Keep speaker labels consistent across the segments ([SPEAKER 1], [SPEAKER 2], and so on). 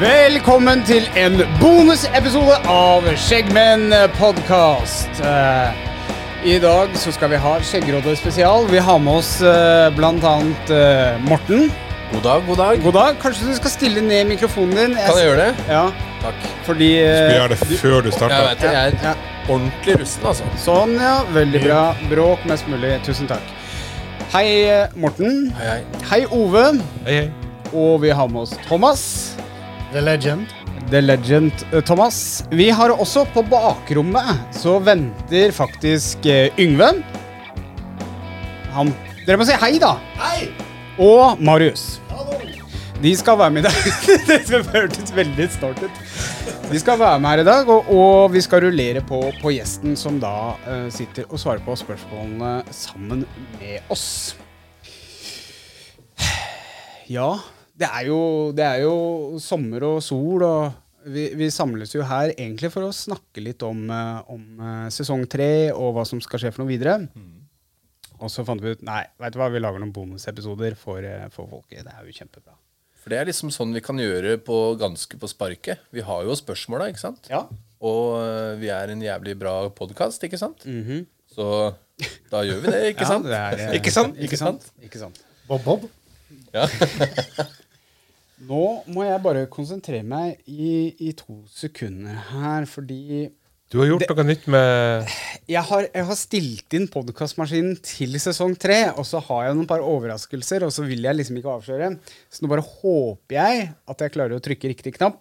[SPEAKER 1] Velkommen til en bonusepisode av Skjeggmenn podkast. I dag så skal vi ha Skjeggrådet spesial. Vi har med oss eh, blant annet eh, Morten.
[SPEAKER 2] God dag, god dag.
[SPEAKER 1] God dag. Kanskje du skal stille ned mikrofonen din?
[SPEAKER 2] Kan jeg gjøre det?
[SPEAKER 1] Ja,
[SPEAKER 2] Takk.
[SPEAKER 1] fordi
[SPEAKER 3] Vi
[SPEAKER 1] eh,
[SPEAKER 3] gjør det før du
[SPEAKER 2] Jeg
[SPEAKER 3] starter.
[SPEAKER 2] vet det, jeg er
[SPEAKER 1] Ja.
[SPEAKER 2] ordentlig russen, altså.
[SPEAKER 1] Sånn, ja. Veldig bra. Bråk mest mulig. Tusen takk. Hei, eh, Morten.
[SPEAKER 2] Hei, hei.
[SPEAKER 1] Hei, Ove.
[SPEAKER 3] Hei, hei.
[SPEAKER 1] Og vi har med oss Thomas.
[SPEAKER 4] The Legend.
[SPEAKER 1] The Legend eh, Thomas. Vi har også på bakrommet så venter faktisk eh, Yngve. Han Dere må si hei, da.
[SPEAKER 4] Hei!
[SPEAKER 1] Og Marius.
[SPEAKER 4] Hallo!
[SPEAKER 1] De skal være med i dag. det skal hørtes veldig snart ut. De skal være med her i dag, og, og vi skal rullere på, på gjesten som da eh, sitter og svarer på spørsmålene sammen med oss. Ja, det er jo, det er jo sommer og sol, og vi, vi samles jo her egentlig for å snakke litt om, eh, om eh, sesong tre og hva som skal skje for noe videre.
[SPEAKER 2] Mm.
[SPEAKER 1] Og så fant vi ut nei, vet du hva, vi lager noen bonusepisoder for, eh, for folket. Det er jo kjempebra.
[SPEAKER 2] For det er liksom sånn vi kan gjøre på ganske på sparket. Vi har jo spørsmåla, ikke sant?
[SPEAKER 1] Ja.
[SPEAKER 2] Og øh, vi er en jævlig bra podkast, ikke sant? Så da gjør vi det, ikke sant?
[SPEAKER 1] Mhm. det er, eh,
[SPEAKER 2] Ikke sant? Ikke sant?
[SPEAKER 1] Ikke sant.
[SPEAKER 4] Bob-Bob.
[SPEAKER 2] Ja.
[SPEAKER 1] Nå må jeg bare konsentrere meg i, i to sekunder her, fordi
[SPEAKER 3] Du har gjort noe nytt med
[SPEAKER 1] jeg har, jeg har stilt inn podkastmaskinen til sesong tre, og så har jeg noen par overraskelser, og så vil jeg liksom ikke avsløre. Så nå bare håper jeg at jeg klarer å trykke riktig knapp.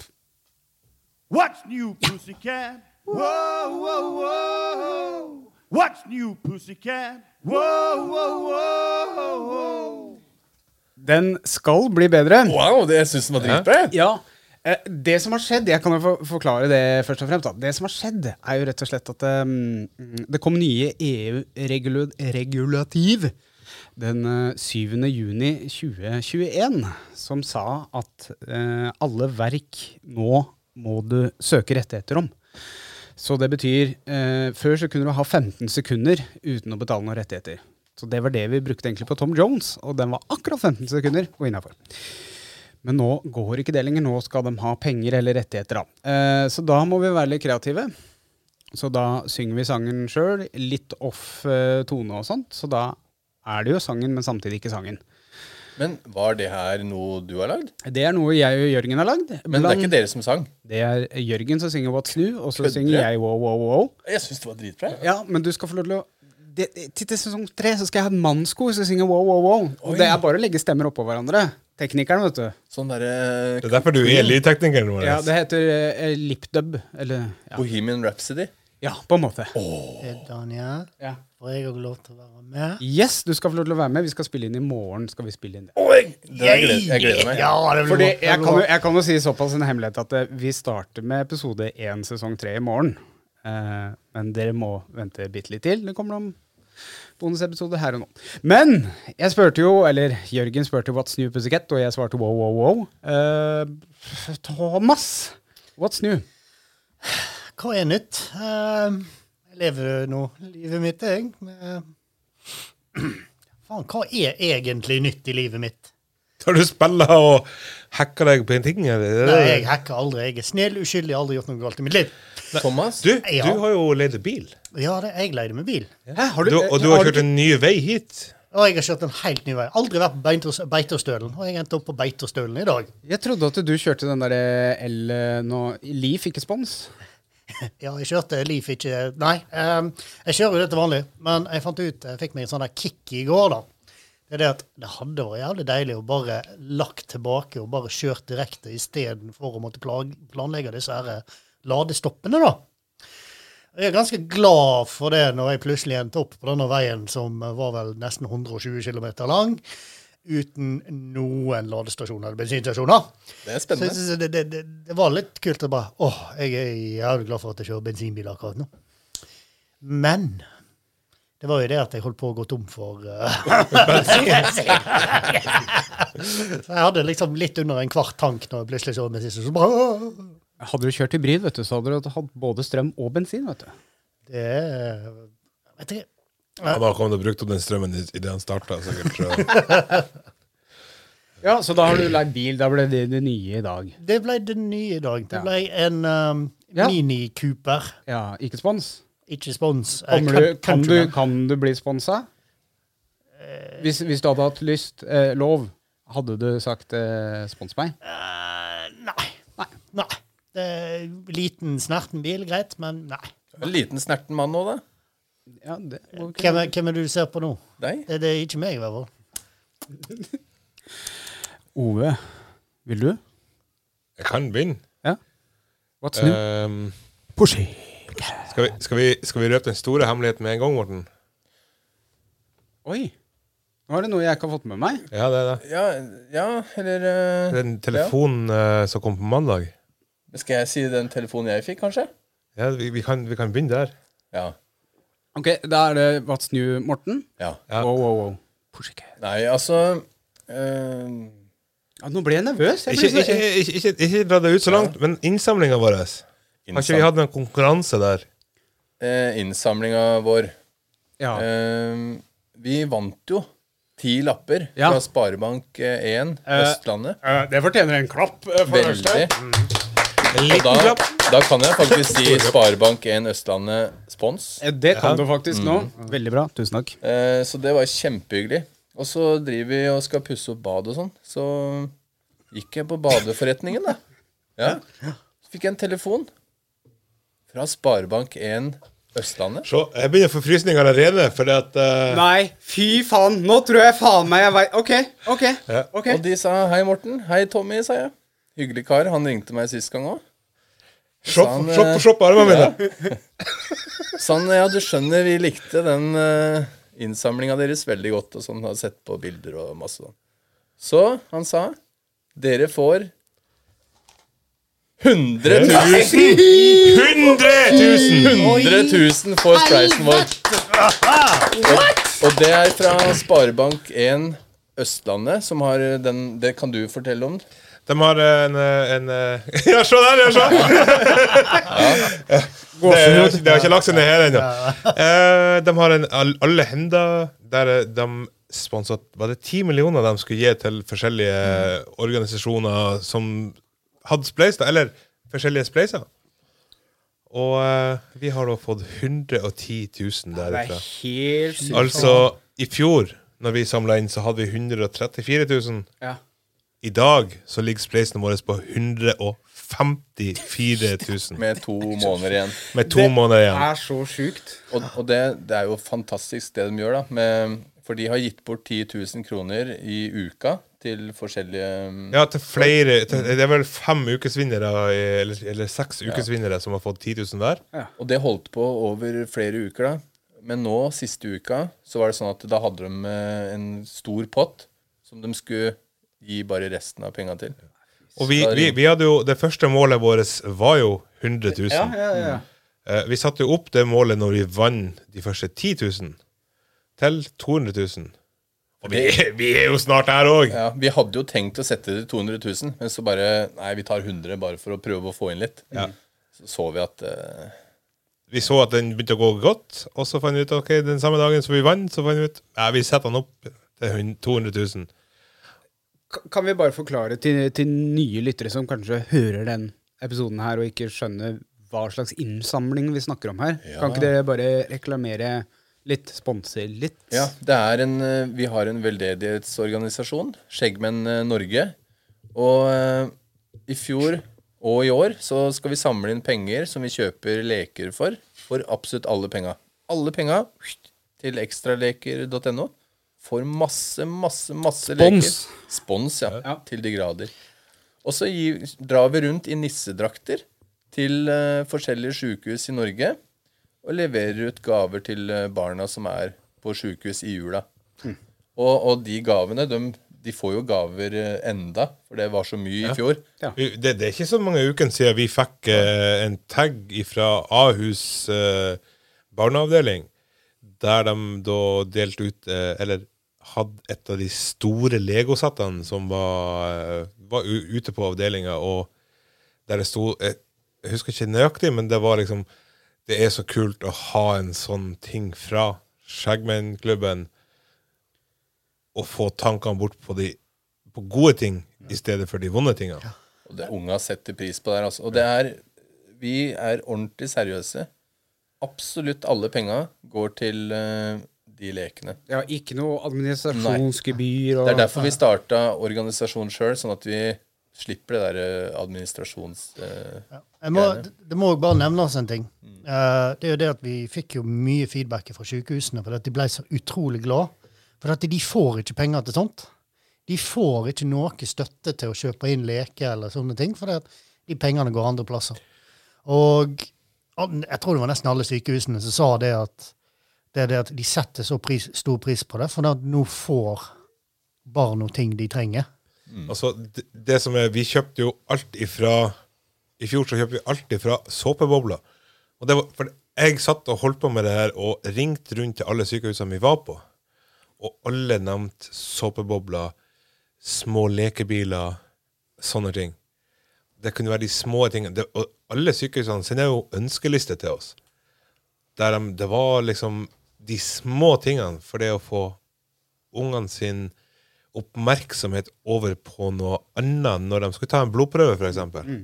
[SPEAKER 5] What's new, pussycat? Whoa, whoa, whoa. What's new, pussycat? Whoa, whoa, whoa, whoa.
[SPEAKER 1] Den skal bli bedre.
[SPEAKER 2] Wow, det syns den var dritbra. jeg.
[SPEAKER 1] Ja. Eh, Det som har skjedd, jeg kan jo for- forklare det først og fremst. Da. Det som har skjedd, er jo rett og slett at um, det kom nye EU-regulativ den eh, 7. juni 2021 som sa at eh, alle verk nå må du søke rettigheter om. Så det betyr eh, Før så kunne du ha 15 sekunder uten å betale noen rettigheter. Så det var det vi brukte egentlig på Tom Jones, og den var akkurat 15 sekunder og innafor. Men nå går ikke det lenger. Nå skal de ha penger eller rettigheter. Da. Eh, så da må vi være litt kreative. Så da synger vi sangen sjøl, litt off eh, tone og sånt. Så da er det jo sangen, men samtidig ikke sangen.
[SPEAKER 2] Men var det her noe du har lagd?
[SPEAKER 1] Det er noe jeg og Jørgen har lagd.
[SPEAKER 2] Men det er
[SPEAKER 1] Blant-
[SPEAKER 2] ikke dere som sang?
[SPEAKER 1] det er Jørgen som synger What's New, og så
[SPEAKER 2] Kødder
[SPEAKER 1] synger
[SPEAKER 2] du?
[SPEAKER 1] jeg Wow, wow, wow.
[SPEAKER 2] Jeg syns det var dritbra. jeg.
[SPEAKER 1] Ja, men du skal få lov til å det, det- Til til sesong tre så skal jeg ha et mannskor som synger Wow, wow, wow. Og det er bare å legge stemmer oppå hverandre. Teknikeren, vet du.
[SPEAKER 2] Sånn derre
[SPEAKER 3] Det er derfor du er lydteknikeren vår.
[SPEAKER 1] Ja, Det heter eh, lipdub. Eller ja.
[SPEAKER 2] Bohemian Rhapsody.
[SPEAKER 1] ja, på en måte.
[SPEAKER 4] Det er Daniel.
[SPEAKER 1] Ja.
[SPEAKER 4] Får jeg òg lov til å være med?
[SPEAKER 1] Yes, du skal få lov til å være med. Vi skal spille inn i morgen. skal vi spille inn det.
[SPEAKER 2] Oi, det jeg, gleder, jeg gleder meg.
[SPEAKER 4] Ja, det blir
[SPEAKER 1] Fordi
[SPEAKER 4] bra. Det
[SPEAKER 1] jeg
[SPEAKER 4] blir
[SPEAKER 1] kan, jo,
[SPEAKER 4] bra.
[SPEAKER 1] jeg kan jo si såpass en hemmelighet at eh, vi starter med episode 1 sesong 3 i morgen. Eh, men dere må vente bitte litt til. Det kommer noen bonusepisoder her og nå. Men jeg spurte jo, eller Jørgen spurte what's new pussycat, og jeg svarte wow, wow, wow. Eh, Thomas, what's new?
[SPEAKER 4] Hva er nytt? Eh, jeg lever jo nå livet mitt, jeg. med- Faen, hva er egentlig nytt i livet mitt?
[SPEAKER 3] Har du spilla og hacka deg på en ting? Eller?
[SPEAKER 4] Nei, jeg hacker aldri. Jeg er snill, uskyldig, aldri gjort noe galt i mitt liv.
[SPEAKER 2] Thomas?
[SPEAKER 3] Du,
[SPEAKER 4] Ja.
[SPEAKER 3] du har jo leid bil.
[SPEAKER 4] Ja, det, jeg leide meg bil.
[SPEAKER 1] Hæ, har
[SPEAKER 3] Du, og du har kjørt en ny vei hit.
[SPEAKER 4] Og jeg har kjørt en helt ny vei. Aldri vært på Beintos- Beitostølen. Og jeg endte opp på Beitostølen i dag.
[SPEAKER 1] Jeg trodde at du kjørte den derre L eh, nå Leaf, ikke spons.
[SPEAKER 4] Ja, jeg kjørte Leaf ikke Nei, ehm, jeg kjører jo det til vanlig, men jeg fant ut Jeg fikk meg en sånn der kick i går, da. Det er det at det hadde vært jævlig deilig å bare lagt tilbake og bare kjørt direkte istedenfor å måtte plag- planlegge disse her eh, ladestoppene, da. Jeg er ganske glad for det når jeg plutselig endte opp på denne veien som var vel nesten 120 km lang, uten noen ladestasjoner eller bensinstasjoner.
[SPEAKER 2] Det er
[SPEAKER 4] Så jeg
[SPEAKER 2] spennende.
[SPEAKER 4] synes det, det, det, det var litt kult å bare Åh, jeg er jævlig glad for at jeg kjører bensinbil akkurat nå. Men det var jo det at jeg holdt på å gå tom for eh, bensin. så jeg hadde liksom litt under en kvart tank når jeg plutselig så min siste. Så bare, «Åh!»
[SPEAKER 1] Hadde du kjørt hybrid, vet du, så hadde du hatt både strøm og bensin. vet du.
[SPEAKER 4] det er Vet ikke.
[SPEAKER 3] Han har kommet og brukt opp den strømmen i- idet han starta, sikkert. så-
[SPEAKER 1] Ja, Så da har du leid bil. Da ble det det nye i dag.
[SPEAKER 4] Det ble det nye i dag. Det
[SPEAKER 1] Ja.
[SPEAKER 4] ble en um,
[SPEAKER 1] Ja.
[SPEAKER 4] mini-Cooper.
[SPEAKER 1] Ja, Ikke spons?
[SPEAKER 4] Ikke spons. Eh,
[SPEAKER 1] Kommer du, kan, du,
[SPEAKER 4] Countryman.
[SPEAKER 1] kan du bli sponsa? Hvis, hvis du hadde hatt lyst, eh, lov, hadde du sagt eh, 'spons meg'?
[SPEAKER 4] Eh, nei. Nei. nei. Det er liten, snerten bil, greit, men nei.
[SPEAKER 2] En liten snerten mann nå, da.
[SPEAKER 1] Ja, det må vi
[SPEAKER 4] Hvem
[SPEAKER 1] kunne-
[SPEAKER 4] er, hvem er det du ser på nå?
[SPEAKER 2] Deg.
[SPEAKER 4] Det, det er ikke meg, i hvert fall.
[SPEAKER 1] Ove, vil du?
[SPEAKER 3] Jeg kan begynne.
[SPEAKER 1] Ja. What's new?
[SPEAKER 3] Ehm,
[SPEAKER 1] Pushy.
[SPEAKER 3] skal, vi, skal, vi, skal vi røpe den store hemmeligheten med en gang, Morten?
[SPEAKER 1] Oi. Nå er det noe jeg ikke har fått med meg.
[SPEAKER 3] Ja, det er det.
[SPEAKER 2] Ja, ja eller eh,
[SPEAKER 3] Den telefonen eh, som kom på mandag.
[SPEAKER 2] Skal jeg si den telefonen jeg fikk, kanskje?
[SPEAKER 3] Ja, vi, vi, kan, vi kan begynne der.
[SPEAKER 2] Ja.
[SPEAKER 1] Ok, Da er det What's new, Morten.
[SPEAKER 2] ja.
[SPEAKER 3] Ja.
[SPEAKER 1] Wow, wow, wow. Pushy cat.
[SPEAKER 2] Nei, altså eh,
[SPEAKER 1] Ja, nå ble jeg nervøs. Jeg ble
[SPEAKER 3] Ikke,
[SPEAKER 1] så-
[SPEAKER 3] ikke, ikke, ikke, ikke dra det ut så langt, men innsamlinga vår Har ikke vi hatt en konkurranse der?
[SPEAKER 2] eh, Innsamlinga vår.
[SPEAKER 1] Ja.
[SPEAKER 2] Eh, vi vant jo ti lapper
[SPEAKER 1] Ja.
[SPEAKER 2] fra Sparebank1 Østlandet.
[SPEAKER 1] Eh, det fortjener en klapp. eh,
[SPEAKER 2] Veldig. Og da, da kan jeg faktisk si Sparebank1 Østlandet spons.
[SPEAKER 1] Eh, Det kan du faktisk nå. Mm. Veldig bra. Tusen takk.
[SPEAKER 2] Eh, så det var kjempehyggelig. Og så driver vi og skal pusse opp bad og sånn. Så gikk jeg på badeforretningen, da. Ja. Så fikk jeg en telefon fra Sparebank1 Østlandet.
[SPEAKER 3] Se, jeg begynner å få frysninger allerede, fordi at eh,
[SPEAKER 1] Nei, fy faen. Nå tror jeg faen meg jeg veit OK, OK. ok.
[SPEAKER 2] Og de sa 'Hei, Morten'. 'Hei, Tommy', sa jeg. Hyggelig kar. Han ringte meg sist gang òg.
[SPEAKER 3] Se
[SPEAKER 2] Sånn,
[SPEAKER 3] på- se på- se på armene mine!
[SPEAKER 2] Sånn, ja, du skjønner, vi likte den uh, innsamlinga deres veldig godt, og sånn, har sett på bilder og masse sånn. Så han sa, dere får 100 000,
[SPEAKER 3] 100 000!
[SPEAKER 2] 100 000 for prisen vår. Og, og det er fra Sparebank1 Østlandet, som har eh, den, det kan du fortelle om.
[SPEAKER 3] De har eh, en, eh, en eh, Ja, se der! Ja, se! Det, det, har ikke- det har ikke lagt seg ned her ennå. Eh, de har en all- Alle hender der eh, de sponset Var det ti millioner de skulle gi til forskjellige organisasjoner som hadde spleis, da? Eller forskjellige spleiser? Og eh, vi har da fått 110 000
[SPEAKER 1] Det er
[SPEAKER 3] derifra.
[SPEAKER 1] helt sykt.
[SPEAKER 3] Altså, i fjor, når vi samla inn, så hadde vi 134 000.
[SPEAKER 1] Ja.
[SPEAKER 3] I dag så ligger spleisen vår på 154 000.
[SPEAKER 2] Med to måneder igjen.
[SPEAKER 3] Med to måneder
[SPEAKER 1] Det
[SPEAKER 3] igjen.
[SPEAKER 1] er så sjukt.
[SPEAKER 2] Og, og det, det er jo fantastisk det de gjør, da. Med, for de har gitt bort 10 000 kroner i uka til forskjellige mm.
[SPEAKER 3] Ja, til flere til, Det er vel fem ukesvinnere, eh, eller, eller seks ukesvinnere, som har fått 10 000 hver.
[SPEAKER 2] Og det holdt på over flere uker, da. Men nå, siste uka, så var det sånn at da hadde de eh, en stor pott som de skulle gi bare resten av penga til.
[SPEAKER 3] Og vi, vi, vi hadde jo Det første målet vårt var jo 100 000.
[SPEAKER 1] Ja, ja, ja.
[SPEAKER 3] Eh, Vi satte jo opp det målet når vi vant de første 10 000, til 200 000. Og vi, vi er jo snart her òg!
[SPEAKER 2] Ja, Vi hadde jo tenkt å sette det til 200 000, men så bare Nei, vi tar 100 bare for å prøve å få inn litt. Så så vi at eh,
[SPEAKER 3] Vi så at den begynte å gå godt, og så fant vi ut ok, den samme dagen som vi vant, så fant vi ut ja, vi setter den opp til hun- 200 000.
[SPEAKER 1] Ka- Kan vi bare forklare til, til nye lyttere som kanskje hører den episoden her og ikke skjønner hva slags innsamling vi snakker om her? Kan ikke dere bare reklamere litt, sponse litt?
[SPEAKER 2] Ja, det er en, eh, vi har en veldedighetsorganisasjon, Skjeggmenn eh, Norge. Og eh, i fjor og i år så skal vi samle inn penger som vi kjøper leker for, for absolutt alle penga. Alle penga til ekstraleker.no. For masse, masse, masse leker.
[SPEAKER 1] Spons.
[SPEAKER 2] Spons, ja,
[SPEAKER 1] Ja.
[SPEAKER 2] Til de grader. Og så gi- drar vi rundt i nissedrakter til eh, forskjellige sykehus i Norge og leverer ut gaver til eh, barna som er på sykehus i jula. Og, og de gavene, de, de får jo gaver eh, enda, for det var så mye i fjor.
[SPEAKER 3] Vi- Det, det er ikke så mange ukene siden vi fikk eh, en tag fra Ahus eh, barneavdeling, der de da delte ut eh, Eller hadde et av de store legosettene som var, eh, var u- ute på avdelinga, og der det sto eh, Jeg husker ikke nøyaktig, men det var liksom Det er så kult å ha en sånn ting fra Skjeggmennklubben, og få tankene bort på de på gode ting i stedet for de vonde tinga.
[SPEAKER 2] Og det unga setter pris på der, altså. Og det er Vi er ordentlig seriøse. Absolutt alle penga går til eh, de lekene.
[SPEAKER 1] Ja, ikke noe administrasjonsgebyr og
[SPEAKER 2] Det er derfor vi starta organisasjonen sjøl, sånn at vi slipper det der eh, administrasjons... eh,
[SPEAKER 4] Jeg må,
[SPEAKER 2] Gjerne.
[SPEAKER 4] det- det må jo bare nevnes en ting. Eh, det er jo det at Vi fikk jo mye feedback fra sykehusene fordi at de ble så utrolig glad. For at de får ikke penger til sånt. De får ikke noe støtte til å kjøpe inn leker eller sånne ting, for de pengene går andre plasser. Og an- jeg tror det var nesten alle sykehusene som sa det at det er det at de setter så pris, stor pris på det, for da nå får barn og ting de trenger.
[SPEAKER 3] Altså, det, det som er, Vi kjøpte jo alt ifra I fjor så kjøpte vi alt ifra såpebobler. Og det var, for jeg satt og holdt på med det her og ringte rundt til alle sykehusene vi var på. Og alle nevnte såpebobler, små lekebiler, sånne ting. Det kunne være de små tingene. Det, og alle sykehusene sender jo ønskelister til oss. Der de, det var liksom de små tingene for det å få ungene sin oppmerksomhet over på noe annet når de skulle ta en blodprøve, f.eks. eksempel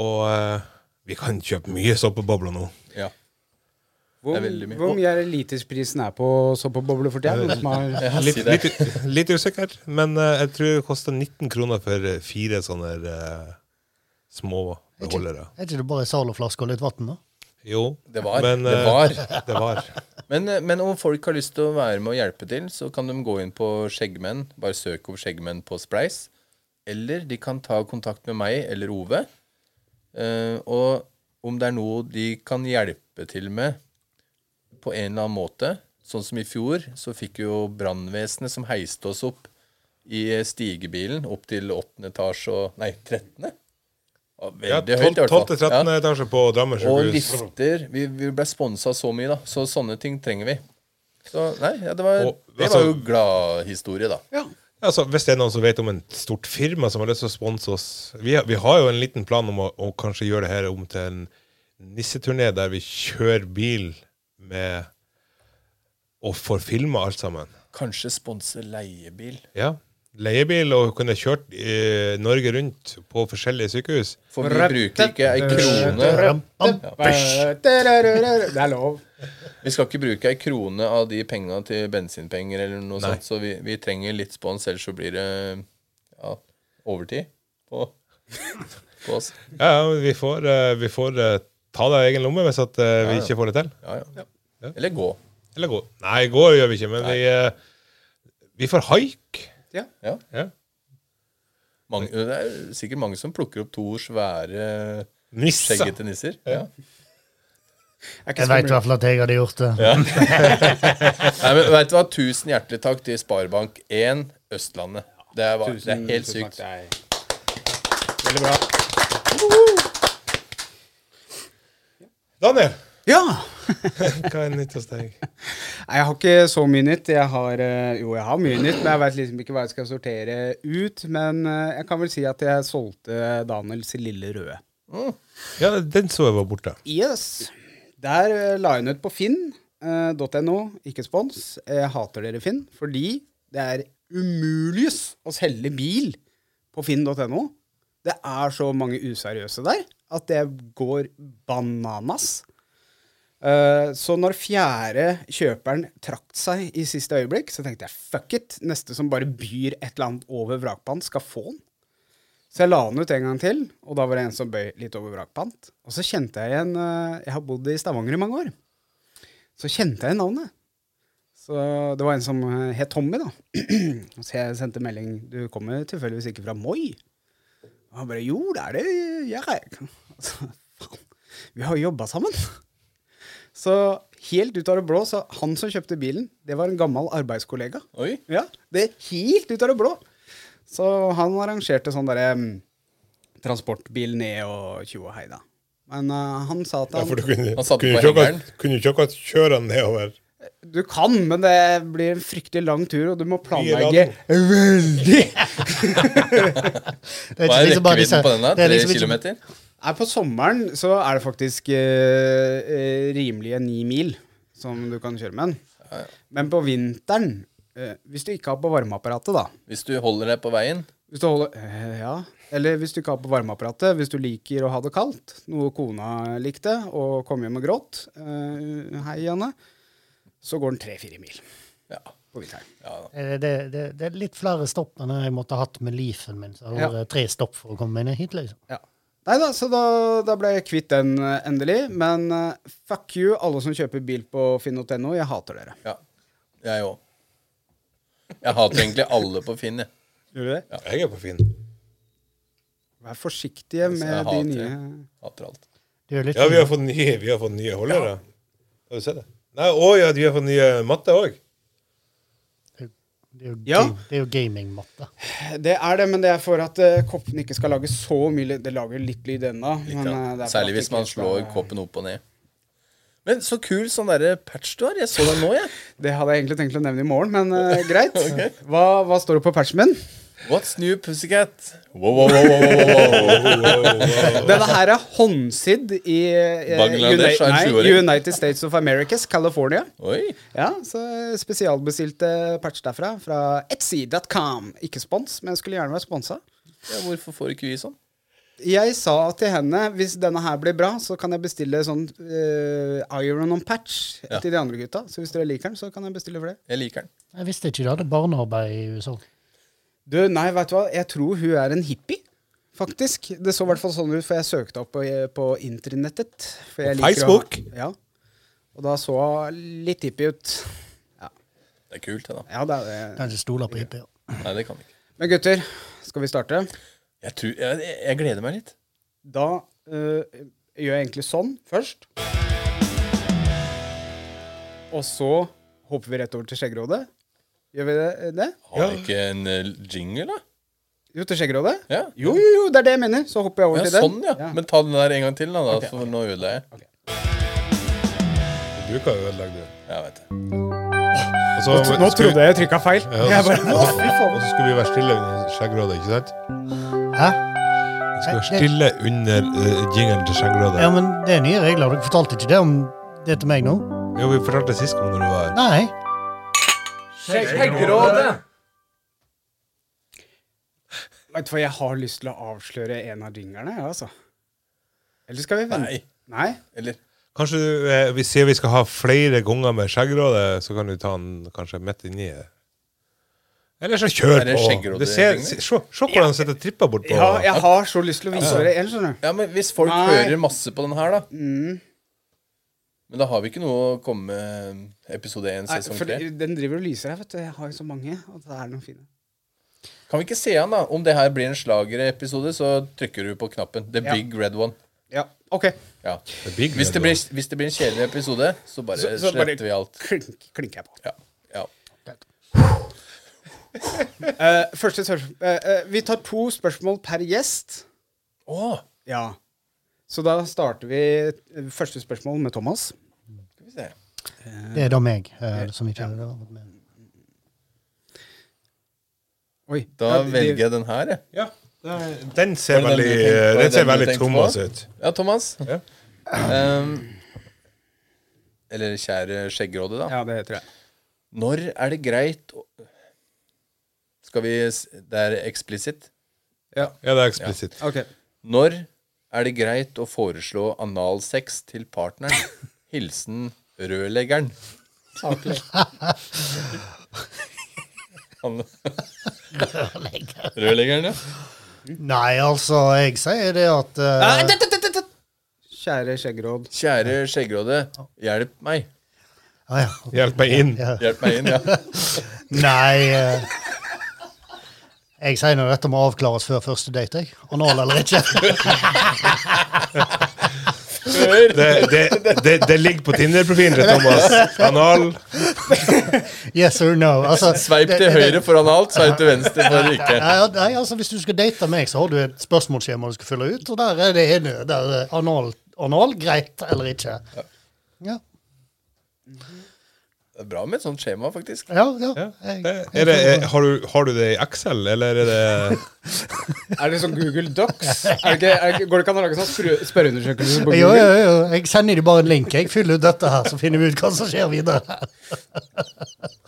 [SPEAKER 3] Og eh, vi kan kjøpe mye såpebobler nå.
[SPEAKER 2] ja.
[SPEAKER 1] Hvor,
[SPEAKER 2] det er veldig mye.
[SPEAKER 1] hvor mye er det literprisen er på såpeboble for tida? Noen som har-
[SPEAKER 2] Ja,
[SPEAKER 3] Litt,
[SPEAKER 2] si det.
[SPEAKER 3] litt, litt usikkert, men eh, jeg tror det koster 19 kroner for eh, fire sånne eh, små beholdere.
[SPEAKER 4] Er ikke det bare en Zalo-flaske og litt vann, da?
[SPEAKER 3] Jo,
[SPEAKER 2] Det var.
[SPEAKER 3] men,
[SPEAKER 2] det
[SPEAKER 3] eh,
[SPEAKER 2] var.
[SPEAKER 3] det var.
[SPEAKER 2] Men, eh, men om folk har lyst til å være med og hjelpe til, så kan de gå inn på Skjeggmenn. Bare søk opp Skjeggmenn på Spleis. Eller de kan ta kontakt med meg eller Ove. Eh, og om det er noe de kan hjelpe til med på en eller annen måte Sånn som i fjor, så fikk jo brannvesenet som heiste oss opp i stigebilen opp til åttende etasje og Nei, trettende? Ja,
[SPEAKER 3] Ja,
[SPEAKER 2] Veldig høyt, i hvert fall.
[SPEAKER 3] 12.-13.
[SPEAKER 2] Ja.
[SPEAKER 3] etasje på Drammen
[SPEAKER 2] Og
[SPEAKER 3] sykehus.
[SPEAKER 2] lifter. Vi, vi ble sponsa så mye, da. Så sånne ting trenger vi. Så nei, ja, det var,
[SPEAKER 3] Og,
[SPEAKER 2] det
[SPEAKER 3] altså-
[SPEAKER 2] var jo gladhistorie, da.
[SPEAKER 3] Altså, hvis det er noen som vet om en stort firma som har lyst til å sponse oss Vi har, vi har jo en liten plan om å, å kanskje gjøre det her om til en nisseturné der vi kjører bil med og får filma alt sammen.
[SPEAKER 2] Kanskje sponse leiebil.
[SPEAKER 3] Ja. Leiebil og kunne kjørt eh, Norge rundt på forskjellige sykehus.
[SPEAKER 2] For vi bruker ikke ei krone
[SPEAKER 1] Det er lov.
[SPEAKER 2] Vi skal ikke bruke ei krone av de penga til bensinpenger eller noe sånt, så vi, vi trenger litt spons, ellers så blir det ja, overtid på, på oss.
[SPEAKER 3] Ja, ja, vi får, eh, vi får eh, ta det av egen lomme hvis at, eh, vi ikke får det til.
[SPEAKER 2] Ja, ja. Eller gå.
[SPEAKER 3] Eller gå. Nei, gå gjør vi ikke, men vi, eh, vi får haik.
[SPEAKER 1] Ja.
[SPEAKER 2] Ja.
[SPEAKER 3] Ja.
[SPEAKER 2] Mange, det er sikkert mange som plukker opp to svære
[SPEAKER 3] Nisser.
[SPEAKER 2] skjeggete nisser. Ja.
[SPEAKER 1] Er ikke
[SPEAKER 4] Jeg veit i
[SPEAKER 1] skummelt.
[SPEAKER 4] hvert fall at jeg hadde gjort det.
[SPEAKER 2] Nei, men vet du hva? Tusen hjertelig takk til Sparebank1 Østlandet. Det er, var- det er helt
[SPEAKER 1] Tusen
[SPEAKER 2] sykt.
[SPEAKER 1] takk, det er- Veldig bra.
[SPEAKER 3] Daniel,
[SPEAKER 1] Ja!
[SPEAKER 3] hva er nytt hos deg?
[SPEAKER 1] Nei, Jeg har ikke så mye nytt. Jeg har, eh, jo, jeg har mye nytt, men jeg veit liksom ikke hva jeg skal sortere ut. Men eh, jeg kan vel si at jeg solgte Daniels lille røde.
[SPEAKER 3] Ja, den så jeg var borte.
[SPEAKER 1] Yes. Der eh, la hun ut på finn.no. ikke spons. Jeg hater dere, Finn, fordi det er umulig å selge bil på finn.no. Det er så mange useriøse der at det går bananas. Eh, Så når fjerde kjøperen trakk seg i siste øyeblikk, så tenkte jeg fuck it. Neste som bare byr et eller annet over vrakpant, skal få den. Så jeg la den ut en gang til, og da var det en som bøy litt over vrakpant. Og så kjente jeg igjen eh, Jeg har bodd i Stavanger i mange år. Så kjente jeg igjen navnet. Så det var en som eh, het Tommy, da. Og så jeg sendte melding Du kommer tilfeldigvis ikke fra Moi? Og han bare Jo, det er det jeg gjør. jeg». Og så, Faen, vi har jo jobba sammen. Så helt ut av det blå, så han som kjøpte bilen, det var en gammel arbeidskollega.
[SPEAKER 2] Oi.
[SPEAKER 1] Ja, det er helt ut av det blå. Så han arrangerte sånn derre mm, transportbil ned og tjo og hei da. Men eh, han sa at
[SPEAKER 3] Ja,
[SPEAKER 1] han
[SPEAKER 3] for du
[SPEAKER 1] du...
[SPEAKER 3] kunne,
[SPEAKER 2] Han satt
[SPEAKER 3] kunne,
[SPEAKER 2] på
[SPEAKER 3] ikke akkurat-
[SPEAKER 2] hengeren.
[SPEAKER 3] kunne ikke akkurat kjøre han nedover.
[SPEAKER 1] kan, men det blir en fryktelig lang tur, og du må planlegge
[SPEAKER 3] lading.
[SPEAKER 1] veldig.
[SPEAKER 4] Det
[SPEAKER 2] Hva
[SPEAKER 4] ikke
[SPEAKER 2] er
[SPEAKER 4] liksom bare disse-
[SPEAKER 2] rekkevidden på denne?
[SPEAKER 4] det er
[SPEAKER 2] Tre
[SPEAKER 4] liksom ikke-
[SPEAKER 2] kilometer?
[SPEAKER 1] Nei, på sommeren så er det faktisk eh, eh, rimelige ni mil som du kan kjøre med den. Men på vinteren, eh, hvis du ikke har på varmeapparatet, da
[SPEAKER 2] Hvis du holder deg på veien
[SPEAKER 1] Hvis du holder, eh, ja. Eller hvis du ikke har på varmeapparatet, hvis du liker å ha det kaldt, noe kona likte, og kom hjem og gråt, eh, hei Janne, så går den tre-fire mil
[SPEAKER 2] Ja.
[SPEAKER 1] på vinteren.
[SPEAKER 2] ja da.
[SPEAKER 4] Eh, Det, det, det er litt flere stopp enn jeg måtte ha hatt med Leafen min. Så det har
[SPEAKER 1] Ja.
[SPEAKER 4] vært tre stopp for å komme meg ned hit, liksom.
[SPEAKER 1] Ja. Nei da, så da, da ble jeg kvitt den eh, endelig. Men eh, fuck you, alle som kjøper bil på finn.no. Jeg hater dere.
[SPEAKER 2] ja. Jeg òg. Jeg hater egentlig alle på Finn, jeg.
[SPEAKER 1] Gjør du det?
[SPEAKER 3] Jeg er på Finn.
[SPEAKER 1] Vær forsiktige
[SPEAKER 2] Altså, jeg
[SPEAKER 1] med de
[SPEAKER 2] hater-
[SPEAKER 1] nye
[SPEAKER 2] Hater alt.
[SPEAKER 4] Det er jo litt
[SPEAKER 3] Ja, vi har fått nye, vi har fått nye holdere. Har du sett det? Nei, å ja, vi har fått nye matte òg.
[SPEAKER 4] det er jo,
[SPEAKER 1] Ja.
[SPEAKER 4] ga- det er jo gamingmatte.
[SPEAKER 1] Det er det, men det er for at eh, koppene ikke skal lage så mye lyd. Det lager litt lyd ennå.
[SPEAKER 2] Litt,
[SPEAKER 1] men, eh, det
[SPEAKER 2] ja.
[SPEAKER 1] er for at
[SPEAKER 2] Særlig
[SPEAKER 1] det
[SPEAKER 2] hvis
[SPEAKER 1] ikke
[SPEAKER 2] man
[SPEAKER 1] skal-
[SPEAKER 2] slår koppen opp og ned. Men så kul sånn derre patch du har. Jeg så den nå, jeg.
[SPEAKER 1] Det hadde jeg egentlig tenkt å nevne i morgen, men eh, greit. hva, hva står det på patchen min?
[SPEAKER 2] What's new, pussycat? Wow, wow, wow, wow, wow, wow, wow.
[SPEAKER 1] Denne her er håndsydd i eh, Uni-
[SPEAKER 2] Bangladesh av en
[SPEAKER 1] nei,
[SPEAKER 2] sjuåring.
[SPEAKER 1] United States of Americas, California.
[SPEAKER 2] Oi.
[SPEAKER 1] Ja, så spesialbestilte patch derfra, fra etsy.com. Ikke spons, men jeg skulle gjerne vært sponsa.
[SPEAKER 2] Ja, hvorfor får ikke vi sånn?
[SPEAKER 1] Jeg sa til henne hvis denne her blir bra, så kan jeg bestille sånn eh, iron on patch
[SPEAKER 2] Ja.
[SPEAKER 1] til de andre gutta. Så hvis dere liker den, så kan jeg bestille for det.
[SPEAKER 2] Jeg liker den.
[SPEAKER 4] Jeg visste ikke de hadde barnearbeid i USA.
[SPEAKER 1] Du, nei, vet du hva? Jeg tror hun er en hippie. Faktisk. Det så i hvert fall sånn ut, for jeg søkte opp på, på internettet. For jeg liker å
[SPEAKER 3] På
[SPEAKER 1] ha-
[SPEAKER 3] Facebook?
[SPEAKER 1] ja. Og da så hun litt hippie ut. Ja,
[SPEAKER 2] Det er kult, det, da.
[SPEAKER 1] ja det er det.
[SPEAKER 4] Kan ikke stole på IP.
[SPEAKER 2] Nei, det kan vi ikke.
[SPEAKER 1] Men gutter, skal vi starte?
[SPEAKER 2] Jeg, tror, jeg, jeg- jeg gleder meg litt.
[SPEAKER 1] Da øh, gjør jeg egentlig sånn først. Og så hopper vi rett over til Skjeggerådet. Gjør vi det? eh, det?
[SPEAKER 2] Har vi ikke en eh, jingle, da?
[SPEAKER 1] Jo, til Skjeggerådet?
[SPEAKER 2] Ja.
[SPEAKER 1] Jo, jo, jo, det er det jeg mener. Så hopper jeg over
[SPEAKER 2] Ja,
[SPEAKER 1] til den.
[SPEAKER 2] sånn, ja. Men ta den der en gang til, da, da for nå ødela jeg.
[SPEAKER 3] Du bruker jo ødelegge det.
[SPEAKER 2] Ja, vet du.
[SPEAKER 3] Og så
[SPEAKER 1] Nå
[SPEAKER 3] skulle-
[SPEAKER 1] trodde jeg jeg trykka feil.
[SPEAKER 3] Ja, og så
[SPEAKER 1] Jeg bare,
[SPEAKER 3] skulle-
[SPEAKER 1] å, fy
[SPEAKER 3] Og
[SPEAKER 1] faen.
[SPEAKER 3] så skulle vi være stille under skjeggrådet, ikke sant?
[SPEAKER 4] Hæ?
[SPEAKER 3] Vi skal være stille under eh, jingelen til
[SPEAKER 4] Ja,
[SPEAKER 3] skjeggrådet.
[SPEAKER 4] men det er nye regler. Dere fortalte ikke det om det til meg nå?
[SPEAKER 3] Jo, vi fortalte det sist gang når du var her.
[SPEAKER 4] Nei.
[SPEAKER 1] Vet du hva, jeg har lyst til å avsløre en av jinglene, jeg, altså. Eller skal vi vente?
[SPEAKER 2] Nei.
[SPEAKER 1] Nei.
[SPEAKER 2] Eller
[SPEAKER 3] Kanskje du, eh, vi sier vi skal ha flere ganger med skjeggrådet, så kan du ta den kanskje midt inni det. Eller så
[SPEAKER 2] Er
[SPEAKER 3] kjør
[SPEAKER 2] det
[SPEAKER 3] på.
[SPEAKER 2] skjeggrådet
[SPEAKER 3] Det ser,
[SPEAKER 2] jingler?
[SPEAKER 3] se, se hvordan han sitter og tripper bort på
[SPEAKER 1] Ja, jeg har så lyst til å vise dere en, skjønner du.
[SPEAKER 2] Ja, men hvis folk
[SPEAKER 1] Nei. Mm.
[SPEAKER 2] hører masse på den her, da. Men da har vi ikke noe å komme med episode 1,
[SPEAKER 1] Nei,
[SPEAKER 2] sesong
[SPEAKER 1] for
[SPEAKER 2] 3.
[SPEAKER 1] den driver og lyser her, vet du. Jeg har jo så mange, og det er noen fine.
[SPEAKER 2] Kan vi ikke se an, da? Om det her blir en slagerepisode, så trykker du på knappen. The
[SPEAKER 1] Ja.
[SPEAKER 2] big red one.
[SPEAKER 1] Ja, ok.
[SPEAKER 2] Ja.
[SPEAKER 3] The big
[SPEAKER 2] Hvis
[SPEAKER 3] red
[SPEAKER 2] det, blir, hvis det blir en kjedelig episode, så bare
[SPEAKER 1] Så- så bare
[SPEAKER 2] sletter vi alt.
[SPEAKER 1] Klink, klinker jeg på.
[SPEAKER 2] Ja. ja.
[SPEAKER 1] Eh, første spørsmål. eh, eh, vi tar to spørsmål per gjest.
[SPEAKER 2] Å,
[SPEAKER 1] Ja. Så da starter vi eh, første spørsmål med Thomas.
[SPEAKER 2] skal vi se.
[SPEAKER 4] Det er da meg eh, som ikke har vært med.
[SPEAKER 1] Oi.
[SPEAKER 2] Da
[SPEAKER 1] Ja, de-
[SPEAKER 2] velger jeg den her, jeg.
[SPEAKER 3] Ja, den ser
[SPEAKER 2] Var det den du
[SPEAKER 3] veldig,
[SPEAKER 2] tenkte- var det
[SPEAKER 3] den ser
[SPEAKER 2] den du
[SPEAKER 3] veldig
[SPEAKER 2] tenkte
[SPEAKER 3] Thomas
[SPEAKER 2] på?
[SPEAKER 3] ut.
[SPEAKER 2] Ja, Thomas.
[SPEAKER 3] Ja.
[SPEAKER 2] Ehm, eller kjære skjeggråde, da.
[SPEAKER 1] Ja, det tror jeg.
[SPEAKER 2] Når er det greit å Skal vi s- Det er eksplisitt.
[SPEAKER 3] Ja, det er eksplisitt.
[SPEAKER 1] Ok.
[SPEAKER 2] Når er det greit å foreslå analsex til partneren? Hilsen rørleggeren. Han- Rørleggeren, ja.
[SPEAKER 4] Nei, altså, jeg sier det at eh,
[SPEAKER 1] Eh, det- det- det- det- det- Kjære skjeggråd.
[SPEAKER 2] Kjære skjeggråde, hjelp meg.
[SPEAKER 4] ah, ja.
[SPEAKER 3] Hjelp meg inn.
[SPEAKER 4] Ja.
[SPEAKER 2] Hjelp meg inn, ja.
[SPEAKER 4] Nei eh, Jeg sier nå dette må avklares før første date, jeg. Anal eller ikke.
[SPEAKER 2] Før.
[SPEAKER 3] Det, det, det, det ligger på Tinder-profilen til Thomas. Anal.
[SPEAKER 4] Yes or no. Altså,
[SPEAKER 2] Sveip
[SPEAKER 4] det-
[SPEAKER 2] til
[SPEAKER 4] det- det-
[SPEAKER 2] høyre for analt, sveip til venstre for ikke.
[SPEAKER 4] Nei, nei, altså Hvis du skal date meg, så har du et spørsmålsskjema du skal fylle ut. Og der er det ene. Der er det anal, anal greit eller ikke. Ja,
[SPEAKER 2] Det er bra med et sånt skjema, faktisk.
[SPEAKER 4] ja. ja.
[SPEAKER 3] Ja.
[SPEAKER 4] Jeg,
[SPEAKER 3] Det, er det, er, har, du, har du det i Excel, eller er det
[SPEAKER 1] Er det sånn Google Docs? Er det ikke, er, det- går det ikke an å lage sånn spør- spørreundersøkelse på
[SPEAKER 4] jo,
[SPEAKER 1] Google?
[SPEAKER 4] jo, jo. jeg sender dem bare en link. Jeg fyller ut dette her, så finner vi ut hva som skjer videre.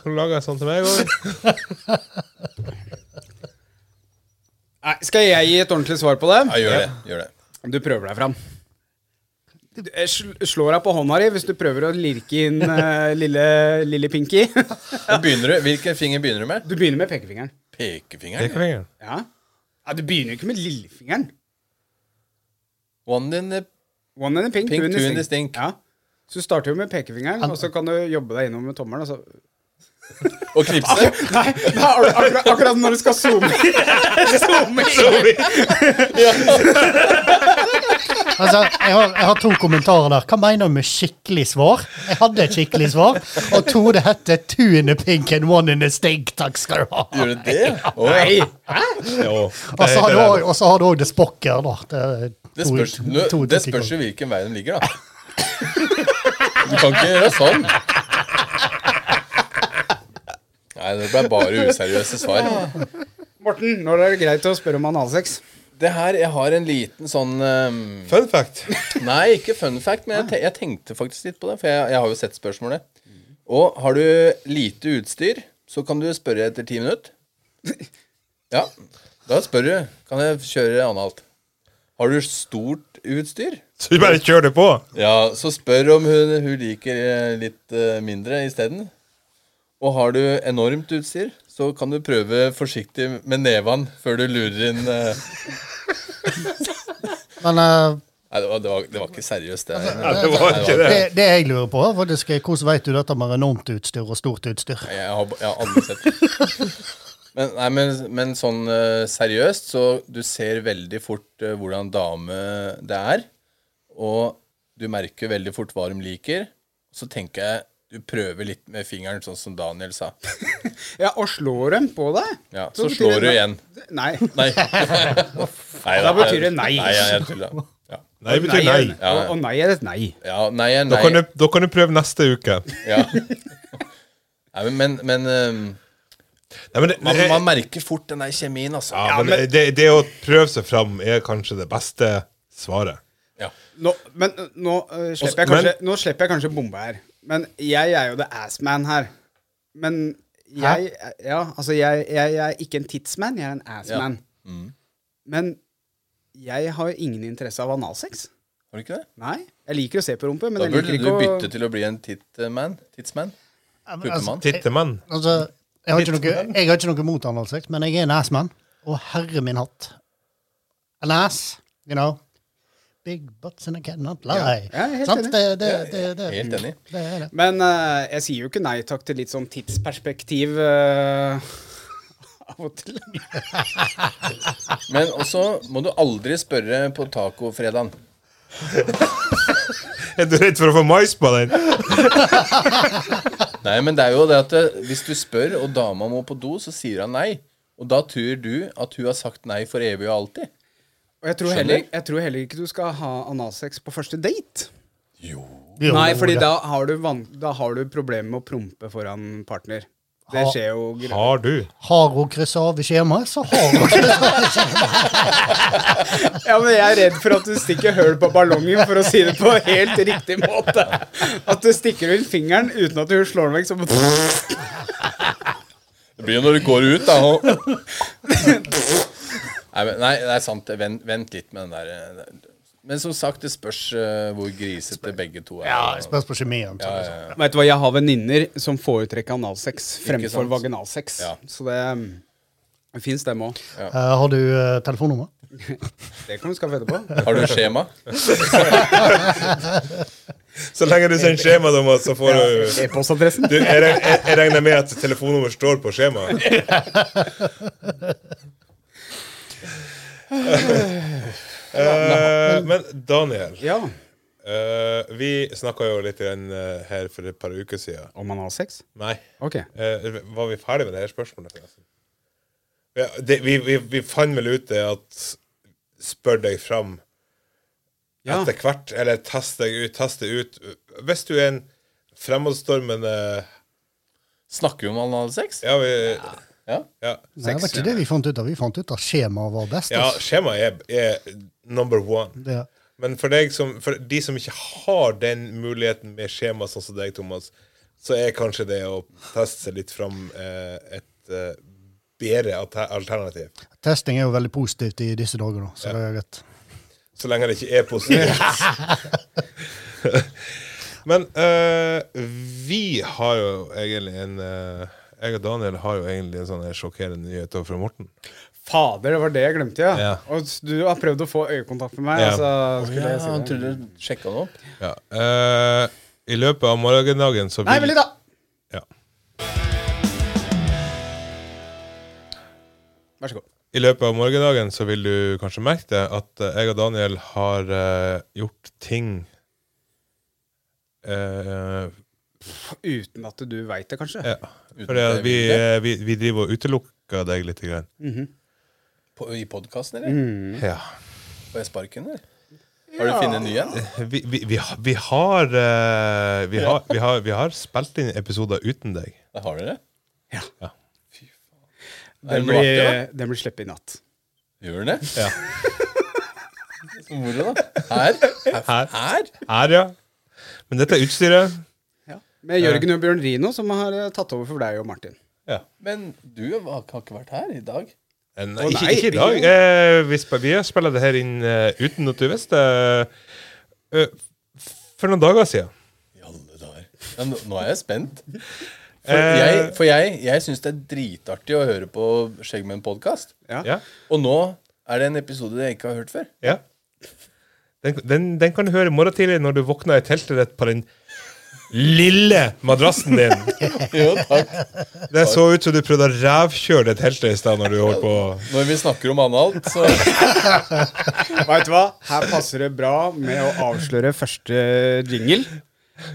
[SPEAKER 3] Kan du lage en sånn til meg òg?
[SPEAKER 1] Nei, skal jeg gi et ordentlig svar på det?
[SPEAKER 2] Ja, gjør det. gjør det
[SPEAKER 1] Du prøver deg fram. Du jeg sl- slår deg på hånda di hvis du prøver å lirke inn eh, lille, lille Pinky.
[SPEAKER 2] Og begynner du, Hvilken finger begynner du med?
[SPEAKER 1] Du begynner med pekefingeren.
[SPEAKER 2] Pekefingeren.
[SPEAKER 1] Ja. ja du begynner jo ikke med lillefingeren.
[SPEAKER 2] One in the
[SPEAKER 1] One and a pink,
[SPEAKER 2] Pink,
[SPEAKER 1] two and a
[SPEAKER 2] two and a
[SPEAKER 1] stink.
[SPEAKER 2] stink.
[SPEAKER 1] Ja. Så du starter jo med pekefingeren, og så kan du jobbe deg innom med tommelen. Og så...
[SPEAKER 2] Og knipse.
[SPEAKER 1] Nei, det er ak- akkurat, akkurat når du skal zoome inn. zoome inn.
[SPEAKER 4] Altså, jeg har, jeg har to kommentarer der. Hva mener du med skikkelig svar? Jeg hadde et skikkelig svar. Og to, det heter two in the pink and one in the stink. Takk skal du ha.
[SPEAKER 2] Gjør du det? Å, ja.
[SPEAKER 1] Nei.
[SPEAKER 4] Og så Altså, har du også- og så har du òg det spokker, da. Det, er
[SPEAKER 2] Det
[SPEAKER 4] to-
[SPEAKER 2] spørs,
[SPEAKER 4] to-
[SPEAKER 2] nå-
[SPEAKER 4] to-
[SPEAKER 2] det
[SPEAKER 4] to-
[SPEAKER 2] spørs jo hvilken vei de ligger, da. Du kan ikke gjøre sånn. Nei, det ble bare useriøse svar.
[SPEAKER 1] Morten, når er det greit å spørre om analsex?
[SPEAKER 2] Det her, Jeg har en liten sånn ehm,
[SPEAKER 3] Fun fact.
[SPEAKER 2] Nei, ikke fun fact, men jeg, te jeg tenkte faktisk litt på det. For jeg, jeg har jo sett spørsmålet. Og har du lite utstyr, så kan du spørre etter ti minutter. Ja, da spør du. Kan jeg kjøre analt? Har du stort utstyr?
[SPEAKER 3] Så du bare kjører det på?
[SPEAKER 2] Ja, så spør om hun, hun liker eh, litt eh, mindre isteden. Og har du enormt utstyr, så kan du prøve forsiktig med nevene før du lurer inn eh.
[SPEAKER 4] Men eh,
[SPEAKER 2] Nei, det var, det var, det var ikke seriøst, det. her.
[SPEAKER 3] Nei, det var ikke det.
[SPEAKER 4] Det, det jeg lurer på, er faktisk, hvordan vet du dette med enormt utstyr og stort utstyr?
[SPEAKER 2] Nei, Jeg har, jeg har aldri sett det. Men, nei, men, men sånn eh, seriøst, så du ser veldig fort eh, hvordan dame det er. Og du merker veldig fort hva de liker. Så tenker jeg du prøver litt med fingeren, sånn som Daniel sa.
[SPEAKER 1] Ja, og slår dem på deg?
[SPEAKER 2] Ja, så slår du igjen.
[SPEAKER 1] Nei.
[SPEAKER 2] Nei. nei
[SPEAKER 1] Da betyr det nei.
[SPEAKER 2] Nei, jeg, jeg tuller. Ja.
[SPEAKER 3] Nei, det
[SPEAKER 1] Nei,
[SPEAKER 3] betyr nei.
[SPEAKER 1] er- Og, og nei er et nei.
[SPEAKER 2] ja, nei er
[SPEAKER 3] Da
[SPEAKER 2] nei.
[SPEAKER 3] kan, du, da kan du prøve neste uke.
[SPEAKER 2] Ja. nei men, men, men øhm,
[SPEAKER 3] Nei, men det,
[SPEAKER 2] man,
[SPEAKER 3] det-
[SPEAKER 2] man merker fort den der kjemien, altså.
[SPEAKER 3] ja, men det, det å prøve seg fram er kanskje det beste svaret.
[SPEAKER 2] Ja.
[SPEAKER 1] Nå, men øh, nå, øh, slipper jeg
[SPEAKER 3] men-
[SPEAKER 1] kanskje, nå slipper jeg kanskje bomba her. Men jeg er jo the assman her. Men jeg Ja, altså, jeg, jeg, jeg er ikke en tidsman, jeg er en assman.
[SPEAKER 2] Mm.
[SPEAKER 1] Men jeg har ingen interesse av analsex.
[SPEAKER 2] Har du ikke det?
[SPEAKER 1] Nei. Jeg liker å se på rumpe, men
[SPEAKER 2] Da
[SPEAKER 1] jeg
[SPEAKER 2] burde
[SPEAKER 1] liker
[SPEAKER 2] du
[SPEAKER 1] ikke å
[SPEAKER 2] bytte til å bli en tittman. Tidsman.
[SPEAKER 4] Ja, men altså,
[SPEAKER 2] Puppemann.
[SPEAKER 3] Tittemann.
[SPEAKER 4] altså, jeg, har ikke noe, jeg har ikke noe mot analsex, men jeg er en assmann. Og herre min hatt. An ass, you know. Big butts and I cannot lie.
[SPEAKER 1] Ja, jeg er helt
[SPEAKER 4] Sant?
[SPEAKER 1] enig.
[SPEAKER 4] Det, det, det, det,
[SPEAKER 2] Helt enig.
[SPEAKER 4] det er det.
[SPEAKER 1] Men øh, jeg sier jo ikke nei takk til litt sånn tidsperspektiv øh, av og til.
[SPEAKER 2] Men også må du aldri spørre på tacofredagen.
[SPEAKER 3] Er du redd for å få mais på den?
[SPEAKER 2] Nei, men det er jo det at eh, hvis du spør, og dama må på do, så sier hun nei. Og da tror du at hun har sagt nei for evig og alltid.
[SPEAKER 1] Og jeg tror,
[SPEAKER 2] Skjønner.
[SPEAKER 1] heller, jeg tror heller ikke du skal ha analsex på første date.
[SPEAKER 4] Jo,
[SPEAKER 1] Nei,
[SPEAKER 4] jo,
[SPEAKER 1] fordi
[SPEAKER 4] det-
[SPEAKER 1] da har du, van da har du problemer med å prompe foran partner. Det
[SPEAKER 4] Ha-
[SPEAKER 1] skjer jo greit.
[SPEAKER 3] Har du?
[SPEAKER 4] Har hun kryssa av i skjemaet, så har hun kryssa av i skjemaet.
[SPEAKER 1] Ja, men jeg er redd for at du stikker høl på ballongen, for å si det på helt riktig måte. At du stikker ut fingeren uten at du slår den vekk, så
[SPEAKER 2] Det blir jo når du går ut, da. Og... nei, men, nei, det er sant. Vent, vent litt med den der eh, Men som sagt, det spørs eh, hvor grisete begge to er. eh,
[SPEAKER 4] Ja, det spørs på kjemien. liksom.
[SPEAKER 2] Ja,
[SPEAKER 4] Ja,
[SPEAKER 2] ja, ja.
[SPEAKER 1] Vet du hva, jeg har venninner som foretrekker analsex fremfor
[SPEAKER 2] sant?
[SPEAKER 1] vaginalsex.
[SPEAKER 2] Ja.
[SPEAKER 1] Så det, mm, det fins, dem òg.
[SPEAKER 4] har du eh, telefonnummer?
[SPEAKER 1] Det kan du skaffe etterpå.
[SPEAKER 2] Har du skjema?
[SPEAKER 3] Så lenge du sender skjema, Thomas, så får du
[SPEAKER 1] E-postadressen.
[SPEAKER 3] du, jeg, reg- jeg, jeg regner med at telefonnummer står på skjemaet. Eh, men Daniel,
[SPEAKER 1] Ja.
[SPEAKER 3] Eh, vi snakka jo litt grann, eh, her for et par uker siden.
[SPEAKER 1] Om man har sex?
[SPEAKER 3] Nei.
[SPEAKER 1] Ok.
[SPEAKER 3] Eh, var vi ferdig med det her spørsmålet? forresten? Ja, det, vi, vi, vi fant vel ut det at spør deg fram
[SPEAKER 1] Ja.
[SPEAKER 3] etter hvert, eller test deg ut, test deg ut. Hvis du er en fremadstormende
[SPEAKER 2] Snakker vi om analsex?
[SPEAKER 3] Ja, vi,
[SPEAKER 2] Ja.
[SPEAKER 3] ja.
[SPEAKER 4] Nei, det var ikke det vi fant ut av. Vi fant ut at skjemaet var best.
[SPEAKER 3] ja
[SPEAKER 4] Altså.
[SPEAKER 3] skjemaet er, er number one.
[SPEAKER 4] Det,
[SPEAKER 3] Men for, deg som, for de som ikke har den muligheten med skjema, sånn som deg, Thomas, så er kanskje det å teste seg litt fram eh, et eh, bedre alter- alternativ.
[SPEAKER 4] testing er jo veldig positivt i disse dager, da, så det er greit.
[SPEAKER 3] Så lenge det ikke er positivt. Men eh, vi har jo egentlig en eh, Jeg og Daniel har jo egentlig en sånn her sjokkerende nyhet overfor Morten.
[SPEAKER 1] Fader, det var det jeg glemte, ja.
[SPEAKER 3] Ja.
[SPEAKER 1] Og s- du har prøvd å få øyekontakt med meg.
[SPEAKER 3] Ja.
[SPEAKER 1] Altså, skulle
[SPEAKER 2] Ja,
[SPEAKER 1] jeg si
[SPEAKER 2] han
[SPEAKER 1] det.
[SPEAKER 2] trodde du sjekka noe opp.
[SPEAKER 3] Ja. eh, I løpet av morgendagen så
[SPEAKER 1] Nei, vent litt, da!
[SPEAKER 3] Ja.
[SPEAKER 1] Vær så god.
[SPEAKER 3] I løpet av morgendagen så vil du kanskje merke det at eh, jeg og Daniel har eh, gjort ting eh,
[SPEAKER 1] Uten at du veit det, kanskje.
[SPEAKER 3] ja.
[SPEAKER 2] Uten
[SPEAKER 3] Fordi at
[SPEAKER 2] det
[SPEAKER 3] vi,
[SPEAKER 2] vi ville.
[SPEAKER 3] eh, vi, vi driver og utelukker deg litt. Grann.
[SPEAKER 2] På, I podkasten, eller?
[SPEAKER 1] Mm.
[SPEAKER 3] Ja.
[SPEAKER 2] Får jeg sparken, eller? Har du funnet en ny en?
[SPEAKER 3] vi, vi, vi, har- vi, har, eh, vi, har, vi, har, vi har spilt inn episoder uten deg.
[SPEAKER 2] Da har dere det.
[SPEAKER 1] Ja.
[SPEAKER 3] Ja.
[SPEAKER 2] Er
[SPEAKER 1] Den
[SPEAKER 2] det noe artig,
[SPEAKER 1] blir, den blir sluppet i natt.
[SPEAKER 2] da? Gjør den det?
[SPEAKER 3] Ja.
[SPEAKER 2] Så moro, da. Her?
[SPEAKER 3] Her,
[SPEAKER 2] Her?
[SPEAKER 3] her ja. Men dette er utstyret.
[SPEAKER 1] Ja. Med Jørgen og Bjørn Rino, som har eh, tatt over for deg og Martin.
[SPEAKER 3] Ja.
[SPEAKER 2] Men du har har ikke vært her i dag.
[SPEAKER 3] Eh, Nei,
[SPEAKER 1] Å,
[SPEAKER 3] ikke,
[SPEAKER 1] nei,
[SPEAKER 3] ikke i dag.
[SPEAKER 1] ikke.
[SPEAKER 3] Eh, vi, sp vi har spilt det her inn eh, uten at du visste det. Eh, f- for noen dager siden.
[SPEAKER 2] I alle dager. Ja, nå, nå er jeg spent. For
[SPEAKER 3] Eh.
[SPEAKER 2] jeg, for jeg, jeg syns det er dritartig å høre på Skjeggmenn-podkast.
[SPEAKER 1] Ja.
[SPEAKER 3] Ja.
[SPEAKER 2] Og nå er det en episode jeg ikke har hørt før.
[SPEAKER 3] ja. Den, den, den kan du høre i morgen tidlig når du våkner i teltet ditt på den lille madrassen din.
[SPEAKER 2] Jo, takk.
[SPEAKER 3] Det så ut som du prøvde å revkjøre det teltet i stad når du holdt på
[SPEAKER 2] Når vi snakker om analt, så
[SPEAKER 1] Vet du hva? Her passer det bra med å avsløre første jingle.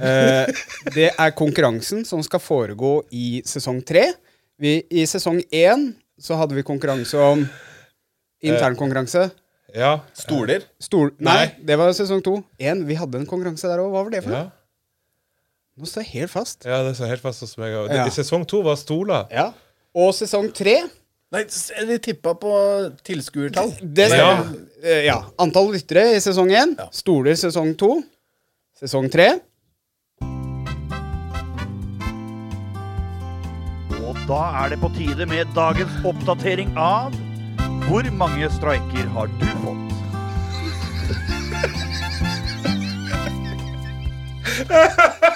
[SPEAKER 1] Eh, det er konkurransen som skal foregå i sesong tre. Vi, I sesong én så hadde vi konkurranse om
[SPEAKER 3] Eh,
[SPEAKER 1] internkonkurranse.
[SPEAKER 3] Ja.
[SPEAKER 2] Stoler.
[SPEAKER 1] Stol... Nei,
[SPEAKER 3] Nei.
[SPEAKER 1] det var sesong to. En, vi hadde en konkurranse der òg. Hva var det for noe?
[SPEAKER 3] ja.
[SPEAKER 1] Nå står jeg helt fast.
[SPEAKER 3] Ja, det står helt fast hos meg òg.
[SPEAKER 1] Ja.
[SPEAKER 3] I sesong to var stoler.
[SPEAKER 1] Ja. Og sesong tre
[SPEAKER 2] Nei, s- de tippa på tilskuertall.
[SPEAKER 1] det
[SPEAKER 3] Ja.
[SPEAKER 1] stemmer. Eh, ja. Antall lyttere i sesong én. Stoler sesong to. Sesong tre.
[SPEAKER 5] Og da er det på tide med dagens oppdatering av Hvor mange streiker har du fått?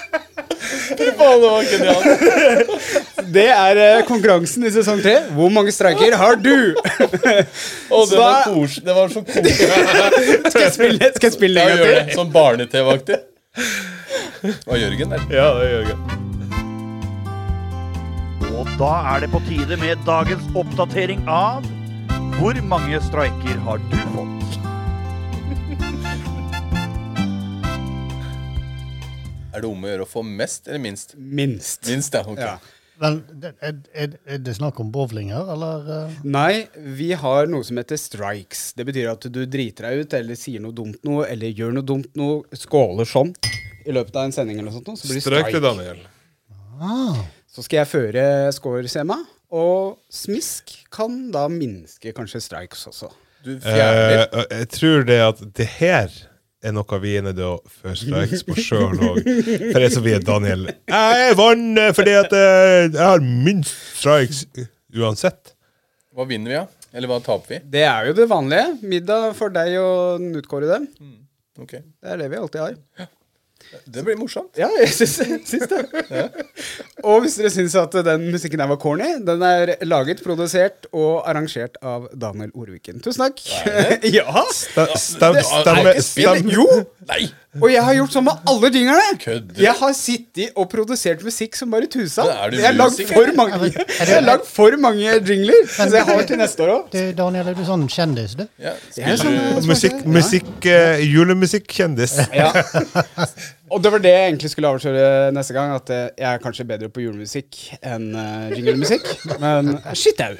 [SPEAKER 2] Faen, det var genialt.
[SPEAKER 1] Det er eh, konkurransen i sesong tre. Hvor mange streiker har du?
[SPEAKER 2] Å, det
[SPEAKER 1] Så
[SPEAKER 2] var,
[SPEAKER 1] da-
[SPEAKER 2] kos, det var så koselig.
[SPEAKER 1] skal jeg spille, skal jeg spille
[SPEAKER 2] Ja,
[SPEAKER 1] en
[SPEAKER 2] gjør
[SPEAKER 1] gang
[SPEAKER 2] det.
[SPEAKER 1] til?
[SPEAKER 2] Sånn barne-TV-aktig. Det var Jørgen der.
[SPEAKER 3] Ja, det gjør jeg.
[SPEAKER 5] Og da er det på tide med dagens oppdatering av Hvor mange streiker har du fått?
[SPEAKER 2] Er det om å gjøre å få mest eller minst?
[SPEAKER 1] Minst.
[SPEAKER 2] Minst, ja. ok.
[SPEAKER 1] Ja.
[SPEAKER 4] Men det- er, er, er det snakk om bowling her, eller? eh?
[SPEAKER 1] Nei, vi har noe som heter strikes. Det betyr at du driter deg ut eller sier noe dumt noe, eller gjør noe dumt noe, skåler sånn i løpet av en sending eller noe sånt. noe, Så blir det
[SPEAKER 3] Strøk det,
[SPEAKER 1] strike.
[SPEAKER 3] Daniel.
[SPEAKER 4] Ah,
[SPEAKER 1] Så skal jeg føre scoresema, og smisk kan da minske kanskje strikes også.
[SPEAKER 2] Du
[SPEAKER 3] Eh,
[SPEAKER 2] fjerner.
[SPEAKER 3] og jeg tror det at det her er noe vi er nødt til å føre strøks på sjøl òg. For det er så vi er Daniel. Jeg vant eh, fordi at eh, jeg har minst strikes uansett.
[SPEAKER 2] Hva vinner vi, da? Eller hva taper vi?
[SPEAKER 1] Det er jo det vanlige. Middag for deg og Knut Kåre dem.
[SPEAKER 2] Ok.
[SPEAKER 1] Det er det vi alltid har.
[SPEAKER 2] Det blir morsomt.
[SPEAKER 1] Ja, jeg syns, syns det. Og hvis dere syns at den musikken her var corny, den er laget, produsert og arrangert av Daniel Orviken. Tusen takk. ja.
[SPEAKER 3] Stem,
[SPEAKER 2] Nei,
[SPEAKER 3] stemme,
[SPEAKER 2] ikke spill.
[SPEAKER 3] stemme.
[SPEAKER 1] Jo!
[SPEAKER 2] Nei!
[SPEAKER 1] Og jeg har gjort sånn med alle jinglene.
[SPEAKER 2] Kødder du?
[SPEAKER 1] Jeg har sittet og produsert musikk som bare tusa.
[SPEAKER 2] Men er du
[SPEAKER 1] Jeg har lagd
[SPEAKER 2] musiker?
[SPEAKER 1] for mange Jeg har lagd for mange jingler, så jeg har til neste år òg.
[SPEAKER 4] Du, Daniel, er du sånn kjendis, du?
[SPEAKER 2] Ja,
[SPEAKER 1] Jeg er sånn, eh,
[SPEAKER 3] Musikk,
[SPEAKER 1] smaker-
[SPEAKER 3] musikk, eh, julemusikkjendis.
[SPEAKER 1] Ja. Og det var det jeg egentlig skulle avsløre neste gang, at eh, jeg er kanskje bedre på julemusikk enn eh, jinglemusikk. Men shit au.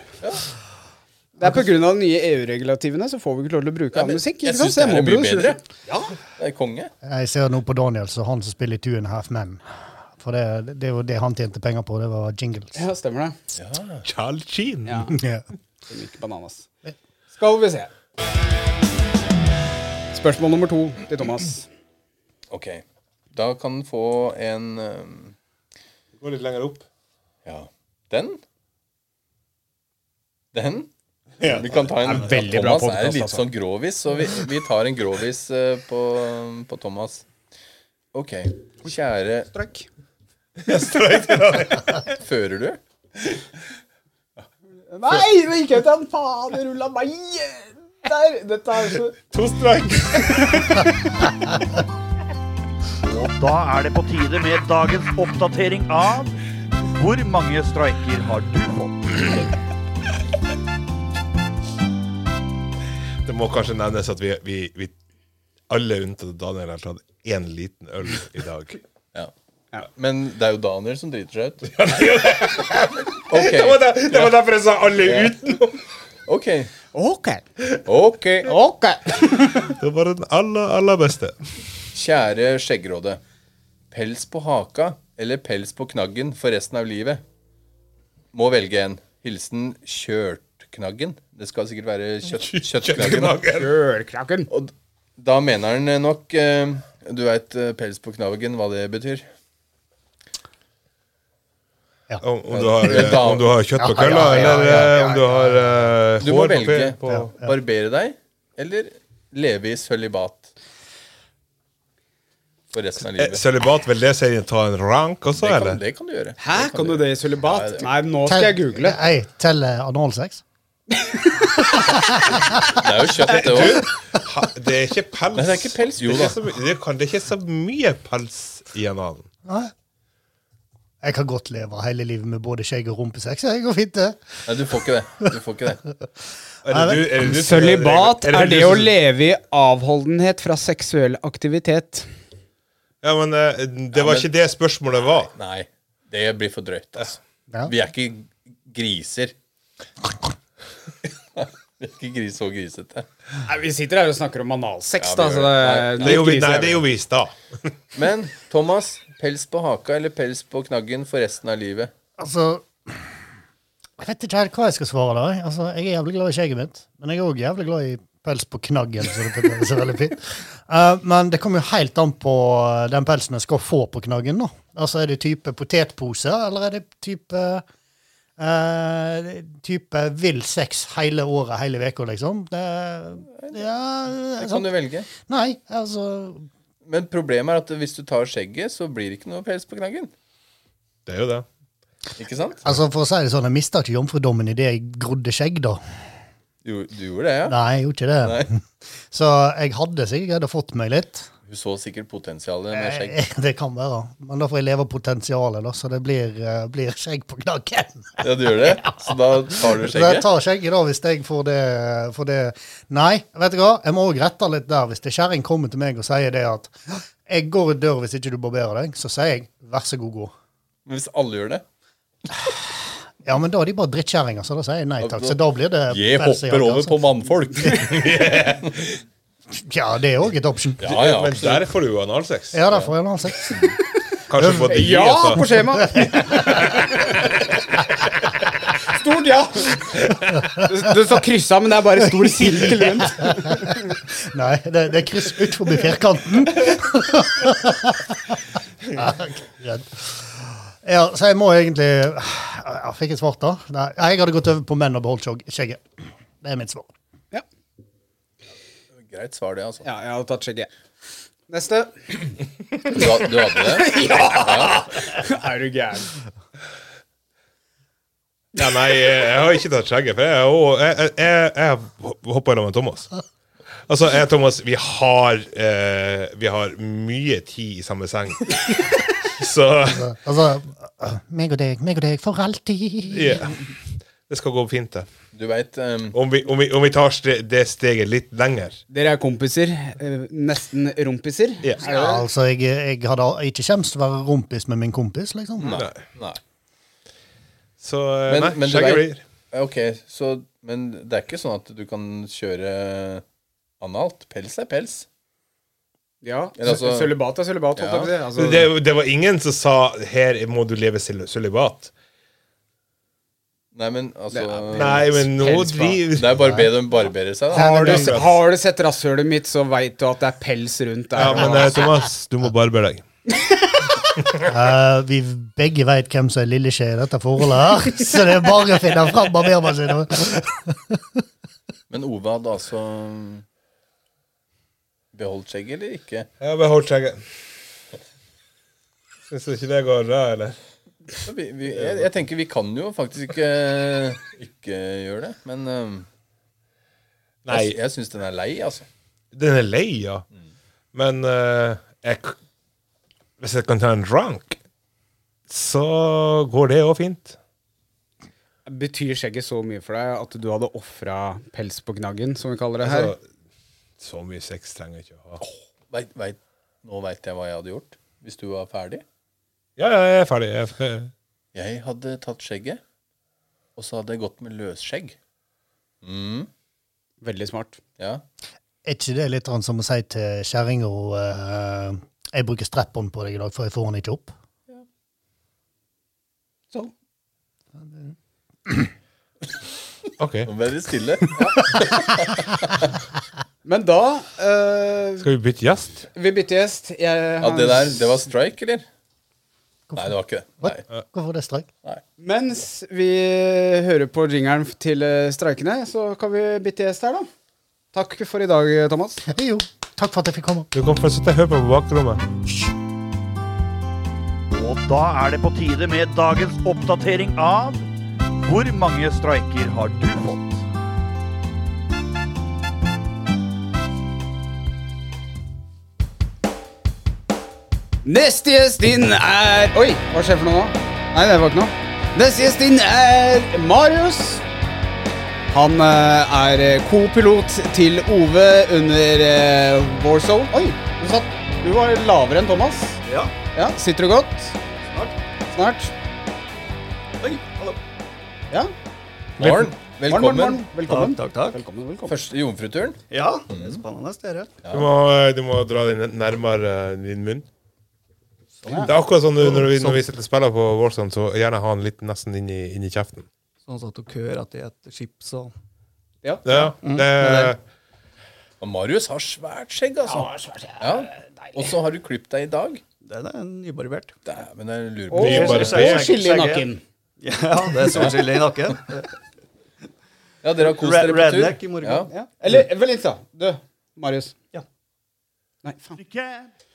[SPEAKER 1] Det er pga. de nye EU-regulativene så får vi ikke lov til å bruke
[SPEAKER 2] Nei,
[SPEAKER 1] annen
[SPEAKER 2] men
[SPEAKER 1] eh, musikk.
[SPEAKER 2] jeg
[SPEAKER 1] ikke sant?
[SPEAKER 2] syns
[SPEAKER 1] Så
[SPEAKER 2] det
[SPEAKER 1] jeg må
[SPEAKER 2] her er mye
[SPEAKER 1] produsere.
[SPEAKER 2] bedre. Ja, det er konge.
[SPEAKER 4] Jeg ser nå på Daniel, så han som spiller i Two and a Half Men. For det, det er jo det han tjente penger på, det var jingles.
[SPEAKER 1] Ja, stemmer det.
[SPEAKER 3] Charles Sheen.
[SPEAKER 1] Ja,
[SPEAKER 4] Ja.
[SPEAKER 1] det er ikke bananas. Skal vi se. Spørsmål nummer to til Thomas.
[SPEAKER 2] Ok. Da kan den få en um,
[SPEAKER 3] Gå litt lenger opp.
[SPEAKER 2] Ja. Den? Den? Vi kan ta en
[SPEAKER 1] veldig bra
[SPEAKER 2] Thomas er
[SPEAKER 1] podcast,
[SPEAKER 2] litt
[SPEAKER 1] altså.
[SPEAKER 2] sånn grovis, så vi, vi tar en grovis eh, på, på Thomas. Ok. Kjære
[SPEAKER 1] Strekk.
[SPEAKER 2] Fører du?
[SPEAKER 1] Nei, det gikk jeg til han faen det rulla meg! Der! Dette er så
[SPEAKER 3] To strike.
[SPEAKER 5] Og da er det på tide med dagens oppdatering av Hvor mange streiker har du fått?
[SPEAKER 3] Det må kanskje nevnes at vi, vi, vi alle unntatt Daniel har tatt én liten øl i dag.
[SPEAKER 2] Ja.
[SPEAKER 1] Ja.
[SPEAKER 2] Men det er jo Daniel som driter seg ut. Ok.
[SPEAKER 3] derfor jeg sa alle uten!
[SPEAKER 2] Ok.
[SPEAKER 1] OK.
[SPEAKER 2] Ok.
[SPEAKER 1] OK.
[SPEAKER 3] Det var den aller, aller beste.
[SPEAKER 2] Kjære skjeggråde. Pels på haka eller pels på knaggen for resten av livet? Må velge en. Hilsen Kjørtknaggen. Det skal sikkert være kjøtt, kjøttknaggen. da.
[SPEAKER 3] Kjøttknagen.
[SPEAKER 1] Ølkraken.
[SPEAKER 2] Og d- da mener han nok eh, Du veit pels på knaggen, hva det betyr?
[SPEAKER 3] Om, om, du har,
[SPEAKER 2] Ja, da-
[SPEAKER 3] om du har kjøtt på
[SPEAKER 4] Ja, ja,
[SPEAKER 3] kølla,
[SPEAKER 4] ja, ja,
[SPEAKER 3] eller
[SPEAKER 4] ja,
[SPEAKER 3] eh, om du har eh,
[SPEAKER 2] Du må
[SPEAKER 3] hår på,
[SPEAKER 2] velge.
[SPEAKER 3] pe- på
[SPEAKER 2] Barbere deg eller leve i sølibat for resten av
[SPEAKER 3] Eh,
[SPEAKER 2] livet.
[SPEAKER 3] Sølibat, vil det si ta en rank også,
[SPEAKER 2] Det kan,
[SPEAKER 3] eller?
[SPEAKER 2] det kan du gjøre.
[SPEAKER 1] Hæ, kan du det i
[SPEAKER 2] Ja,
[SPEAKER 1] sølibat?
[SPEAKER 2] det-
[SPEAKER 1] Nei, nå skal jeg google.
[SPEAKER 4] Nei, eh, teller analsex?
[SPEAKER 2] Det er jo kjøtt, det òg.
[SPEAKER 3] Ha, det er ikke pels.
[SPEAKER 2] Nei, det er ikke pels. Jo da.
[SPEAKER 3] det, er ikke så, my- det, kan, det er ikke så mye pels i en annen.
[SPEAKER 4] Nei. Jeg kan godt leve hele livet med både skjegg og rumpesex. Det går fint, det.
[SPEAKER 2] Nei, du får ikke det. Du får ikke det.
[SPEAKER 3] Er det du- er det du som-
[SPEAKER 1] Sølibat er
[SPEAKER 3] du
[SPEAKER 1] det sånn-
[SPEAKER 3] som-
[SPEAKER 1] å leve i avholdenhet fra seksuell aktivitet.
[SPEAKER 3] Ja, men eh, det var
[SPEAKER 2] men-
[SPEAKER 3] ikke det spørsmålet var.
[SPEAKER 2] Nei, det blir for drøyt, altså.
[SPEAKER 4] Ja.
[SPEAKER 2] Vi er ikke griser. Vi er ikke gris så grisete.
[SPEAKER 1] Nei, Vi sitter her og snakker om analsex,
[SPEAKER 2] Ja, vi gjør det.
[SPEAKER 3] Det gjorde vi, nei, det gjorde vi i stad.
[SPEAKER 2] Men Thomas, pels på haka eller pels på knaggen for resten av livet?
[SPEAKER 4] Altså Jeg vet ikke helt hva jeg skal svare der. Altså, jeg er jævlig glad i skjegget mitt, men jeg er òg jævlig glad i pels på knaggen. Så det er så veldig fint. Eh, men det kommer jo helt an på eh, den pelsen jeg skal få på knaggen. da. Altså, Er det type potetpose, eller er det type eh, type vill sex hele året, hele uka, liksom? Det, ja,
[SPEAKER 2] Det
[SPEAKER 4] sånn.
[SPEAKER 2] kan du velge.
[SPEAKER 4] Nei, altså
[SPEAKER 2] Men problemet er at hvis du tar skjegget, så blir det ikke noe pels på knaggen.
[SPEAKER 3] Det er jo det.
[SPEAKER 2] Ikke sant?
[SPEAKER 4] Altså, for å si det sånn, Jeg mista ikke jomfrudommen idet jeg grodde skjegg, da.
[SPEAKER 2] Jo, du gjorde det, ja?
[SPEAKER 4] Nei, jeg gjorde ikke det. Så jeg hadde sikkert greid å fått meg litt.
[SPEAKER 2] Hun så sikkert potensialet med skjegg.
[SPEAKER 4] Det kan være. Men da får jeg leve av potensialet, da, så det blir, eh, blir skjegg på knaggen.
[SPEAKER 2] Ja, du gjør det? Så da tar du
[SPEAKER 4] Så jeg
[SPEAKER 2] skjegget?
[SPEAKER 4] tar skjegget da hvis jeg får det, får det. Nei, vet du hva, jeg må òg rette litt der. Hvis det kjerring kommer til meg og sier det at jeg går i dør hvis ikke du barberer deg, så sier jeg vær så god, gå.
[SPEAKER 2] Men hvis alle gjør det
[SPEAKER 4] Ja, men da er de bare drittkjerringer, så da sier jeg nei takk. Så da blir det
[SPEAKER 2] Jeg
[SPEAKER 4] pels i
[SPEAKER 2] hopper
[SPEAKER 4] jakka,
[SPEAKER 2] over
[SPEAKER 4] altså.
[SPEAKER 2] på mannfolk.
[SPEAKER 4] Ja, det er òg et option. Ja,
[SPEAKER 2] Ja, ja,
[SPEAKER 3] Men
[SPEAKER 2] absolutt.
[SPEAKER 3] der får du jo analsex.
[SPEAKER 4] da får jeg en annen sex.
[SPEAKER 3] Kanskje på de,
[SPEAKER 1] Ja
[SPEAKER 3] altså.
[SPEAKER 1] på skjema! Stort ja! Du, du så kryssa, men det er bare stor sirkel rundt.
[SPEAKER 4] Nei, det, det er kryss ut forbi firkanten. Ja, greit. ja, så jeg må egentlig ja, Fikk jeg svart, da? Nei, jeg hadde gått over på menn og beholdt skjog- skjegget. Det er mitt svar.
[SPEAKER 1] Ja,
[SPEAKER 2] Greit svar, det, altså.
[SPEAKER 1] ja jeg hadde tatt skjegget. Neste.
[SPEAKER 2] Du, ha- du hadde det?
[SPEAKER 1] Er du gæren?
[SPEAKER 3] Ja, nei, jeg jeg har ikke tatt skjegget, for jeg, er jo- jeg, jeg, jeg, jeg hoppa i lag med Thomas. Altså, jeg og Thomas, vi har, eh, vi har mye tid i samme seng. Så
[SPEAKER 4] Altså, meg og deg, meg og deg for alltid.
[SPEAKER 3] ja. det skal gå fint, det.
[SPEAKER 2] Du veit um,
[SPEAKER 3] Om vi, om vi, om vi tar ste, det steget litt lenger.
[SPEAKER 1] Dere er kompiser. eh, Nesten rompiser.
[SPEAKER 3] Ja.
[SPEAKER 1] Er
[SPEAKER 4] Ja,
[SPEAKER 1] dere det?
[SPEAKER 4] altså, jeg, jeg hadde ikke kjemst til å være rompis med min kompis, liksom.
[SPEAKER 2] Nei. nei.
[SPEAKER 3] Så eh,
[SPEAKER 2] Men-
[SPEAKER 3] nei,
[SPEAKER 2] men du
[SPEAKER 3] skjegget
[SPEAKER 2] vet-
[SPEAKER 3] blir
[SPEAKER 2] Ok, så Men det er ikke sånn at du kan kjøre analt. Pels er pels.
[SPEAKER 1] Ja,
[SPEAKER 2] Eller altså-
[SPEAKER 1] sø- Sølibat er sølibat. holdt jeg på å
[SPEAKER 2] Ja.
[SPEAKER 1] si. Altså,
[SPEAKER 3] det, det var ingen som sa 'her må du leve sil- sølibat'.
[SPEAKER 2] Nei, men altså
[SPEAKER 1] Det
[SPEAKER 3] Nei, men nå
[SPEAKER 1] Pels, hva?
[SPEAKER 3] driver
[SPEAKER 2] Det er bare å be dem barbere seg, da.
[SPEAKER 1] har, du,
[SPEAKER 3] det-
[SPEAKER 1] se- har du sett rasshølet mitt, så veit du at det er pels rundt der.
[SPEAKER 3] Ja, men eh, Thomas, du må barbere deg.
[SPEAKER 4] Eh, vi begge veit hvem som er lilleskje i dette forholdet her, så det er bare å finne fram barbermaskinen.
[SPEAKER 2] Men Ove hadde altså beholdt skjegget, eller ikke?
[SPEAKER 3] Jeg har beholdt skjegget. Syns du ikke det går bra, eller?
[SPEAKER 2] Så vi, vi, jeg, jeg tenker vi kan jo faktisk ikke, ikke gjøre det, men um,
[SPEAKER 3] Nei.
[SPEAKER 2] Jeg, jeg syns den er lei, altså.
[SPEAKER 3] Den er lei, ja. Men eh, jeg, k- hvis jeg kan ta en drunk, så går det òg fint.
[SPEAKER 1] Betyr skjegget så mye for deg at du hadde ofra pels på gnaggen, som vi kaller det her?
[SPEAKER 3] Altså, så mye sex trenger jeg ikke å ha.
[SPEAKER 2] Veit, veit, nå veit jeg hva jeg hadde gjort hvis du var ferdig.
[SPEAKER 3] Ja, ja, jeg er ferdig. Jeg er ferdig.
[SPEAKER 2] Jeg hadde tatt skjegget, og så hadde jeg gått med løsskjegg. Mm,
[SPEAKER 1] Veldig smart.
[SPEAKER 2] ja.
[SPEAKER 4] Er ikke det litt sånn som å si til kjerringa eh, Jeg bruker strap-on på deg i dag, for jeg får den ikke opp.
[SPEAKER 1] Sånn.
[SPEAKER 3] OK.
[SPEAKER 2] Nå ble det stille.
[SPEAKER 1] Men da eh,
[SPEAKER 3] Skal vi bytte gjest?
[SPEAKER 1] Vi bytter gjest. Jeg
[SPEAKER 2] Ja,
[SPEAKER 1] har-
[SPEAKER 2] det der, det var strike, eller? Nei, det var ikke det.
[SPEAKER 4] What?
[SPEAKER 2] Nei.
[SPEAKER 4] Hvorfor det streik?
[SPEAKER 1] Mens vi hører på jingeren til eh, streikene, så kan vi bytte gjest her, da. Takk for i dag, Thomas.
[SPEAKER 4] Jo, takk for at jeg fikk komme.
[SPEAKER 3] Du kan fortsette å høre på på bakrommet.
[SPEAKER 5] Og da er det på tide med dagens oppdatering av Hvor mange streiker har du fått?
[SPEAKER 1] Neste gjest inn er Oi, hva skjer for noe nå? Nei, det var ikke noe. Neste gjest inn er Marius. Han eh, er co-pilot til Ove under eh, Warzone. Oi, du, satt, du var lavere enn Thomas.
[SPEAKER 6] Ja.
[SPEAKER 1] Ja, Sitter du godt?
[SPEAKER 6] Snart.
[SPEAKER 1] Snart.
[SPEAKER 6] Oi, hallo.
[SPEAKER 1] Ja.
[SPEAKER 2] Morn,
[SPEAKER 1] Morgen, morgen,
[SPEAKER 2] velkommen.
[SPEAKER 1] morgen. Velkommen.
[SPEAKER 6] Takk, takk, takk.
[SPEAKER 1] Velkommen, velkommen.
[SPEAKER 2] Første jomfruturen.
[SPEAKER 6] Ja, det er spennende, dere.
[SPEAKER 3] Du må, eh, du må dra den nærmere eh, din munn. Det er akkurat sånn når vi, når vi sitter og spiller på Warzone, så gjerne ha den litt nesten inn i, inn i kjeften.
[SPEAKER 6] Sånn satt og køer at jeg et chips og
[SPEAKER 1] Ja.
[SPEAKER 3] Ja, det,
[SPEAKER 2] Og Marius har svært skjegg, altså. Ja. Og så har du klippet deg i dag.
[SPEAKER 6] Det er en nybarbert.
[SPEAKER 2] Dæven, jeg lurer på
[SPEAKER 1] Og,
[SPEAKER 3] Vi bare
[SPEAKER 1] og skille i nakken.
[SPEAKER 6] Ja, det er solskille i nakken.
[SPEAKER 2] Ja, dere har kost dere på tur.
[SPEAKER 6] Redneck i morgen.
[SPEAKER 2] Ja.
[SPEAKER 1] Ja. Eller vent litt, da. Du, Marius.
[SPEAKER 6] Ja.
[SPEAKER 1] Nei, faen.
[SPEAKER 5] Pussycat,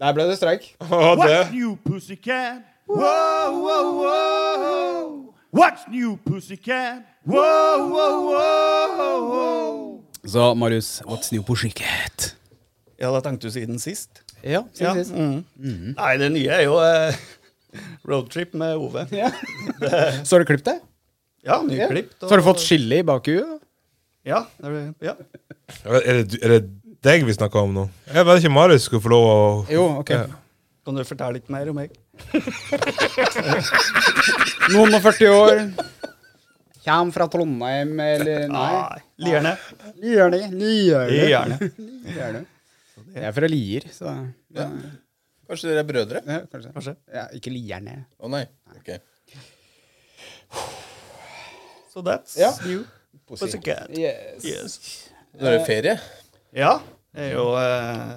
[SPEAKER 1] Der ble det streik.
[SPEAKER 3] Å, det.
[SPEAKER 5] What's new, pussycat? Whoa, whoa, whoa. What's new, pussycat? Whoa, whoa, whoa, whoa.
[SPEAKER 1] Så Marius, what's new på skikkhet?
[SPEAKER 6] Ja, da tenkte du siden sist.
[SPEAKER 1] Ja,
[SPEAKER 6] Ja.
[SPEAKER 1] siden sist.
[SPEAKER 6] Mm. Nei, det nye er jo eh, roadtrip med Ove.
[SPEAKER 1] Ja. Så har du klippet deg?
[SPEAKER 6] Ja,
[SPEAKER 1] Ja.
[SPEAKER 6] nyklipt.
[SPEAKER 1] Så har du fått skille i bakhuet?
[SPEAKER 6] Ja, det er, ja.
[SPEAKER 3] Er det, er det deg vi snakker om nå? Jeg vet ikke Marius skulle få lov å
[SPEAKER 1] Jo, ok.
[SPEAKER 6] Kan du fortelle litt mer om meg?
[SPEAKER 1] Noen og 40 år. Kjem fra Trondheim, eller Nei.
[SPEAKER 6] Nei, Lierne.
[SPEAKER 1] Lierne. Lierne.
[SPEAKER 6] Lierne.
[SPEAKER 1] Lierne. Jeg er fra Lier, så ja,
[SPEAKER 2] Kanskje dere er brødre?
[SPEAKER 1] ja, Kanskje.
[SPEAKER 6] Kanskje.
[SPEAKER 1] Ja, ikke Lierne.
[SPEAKER 2] Å nei. Ok.
[SPEAKER 6] So that's
[SPEAKER 1] Ja.
[SPEAKER 6] you. Pussycat.
[SPEAKER 1] Yes.
[SPEAKER 6] Yes.
[SPEAKER 2] Nå er det ferie.
[SPEAKER 6] Ja. Jeg er jo eh,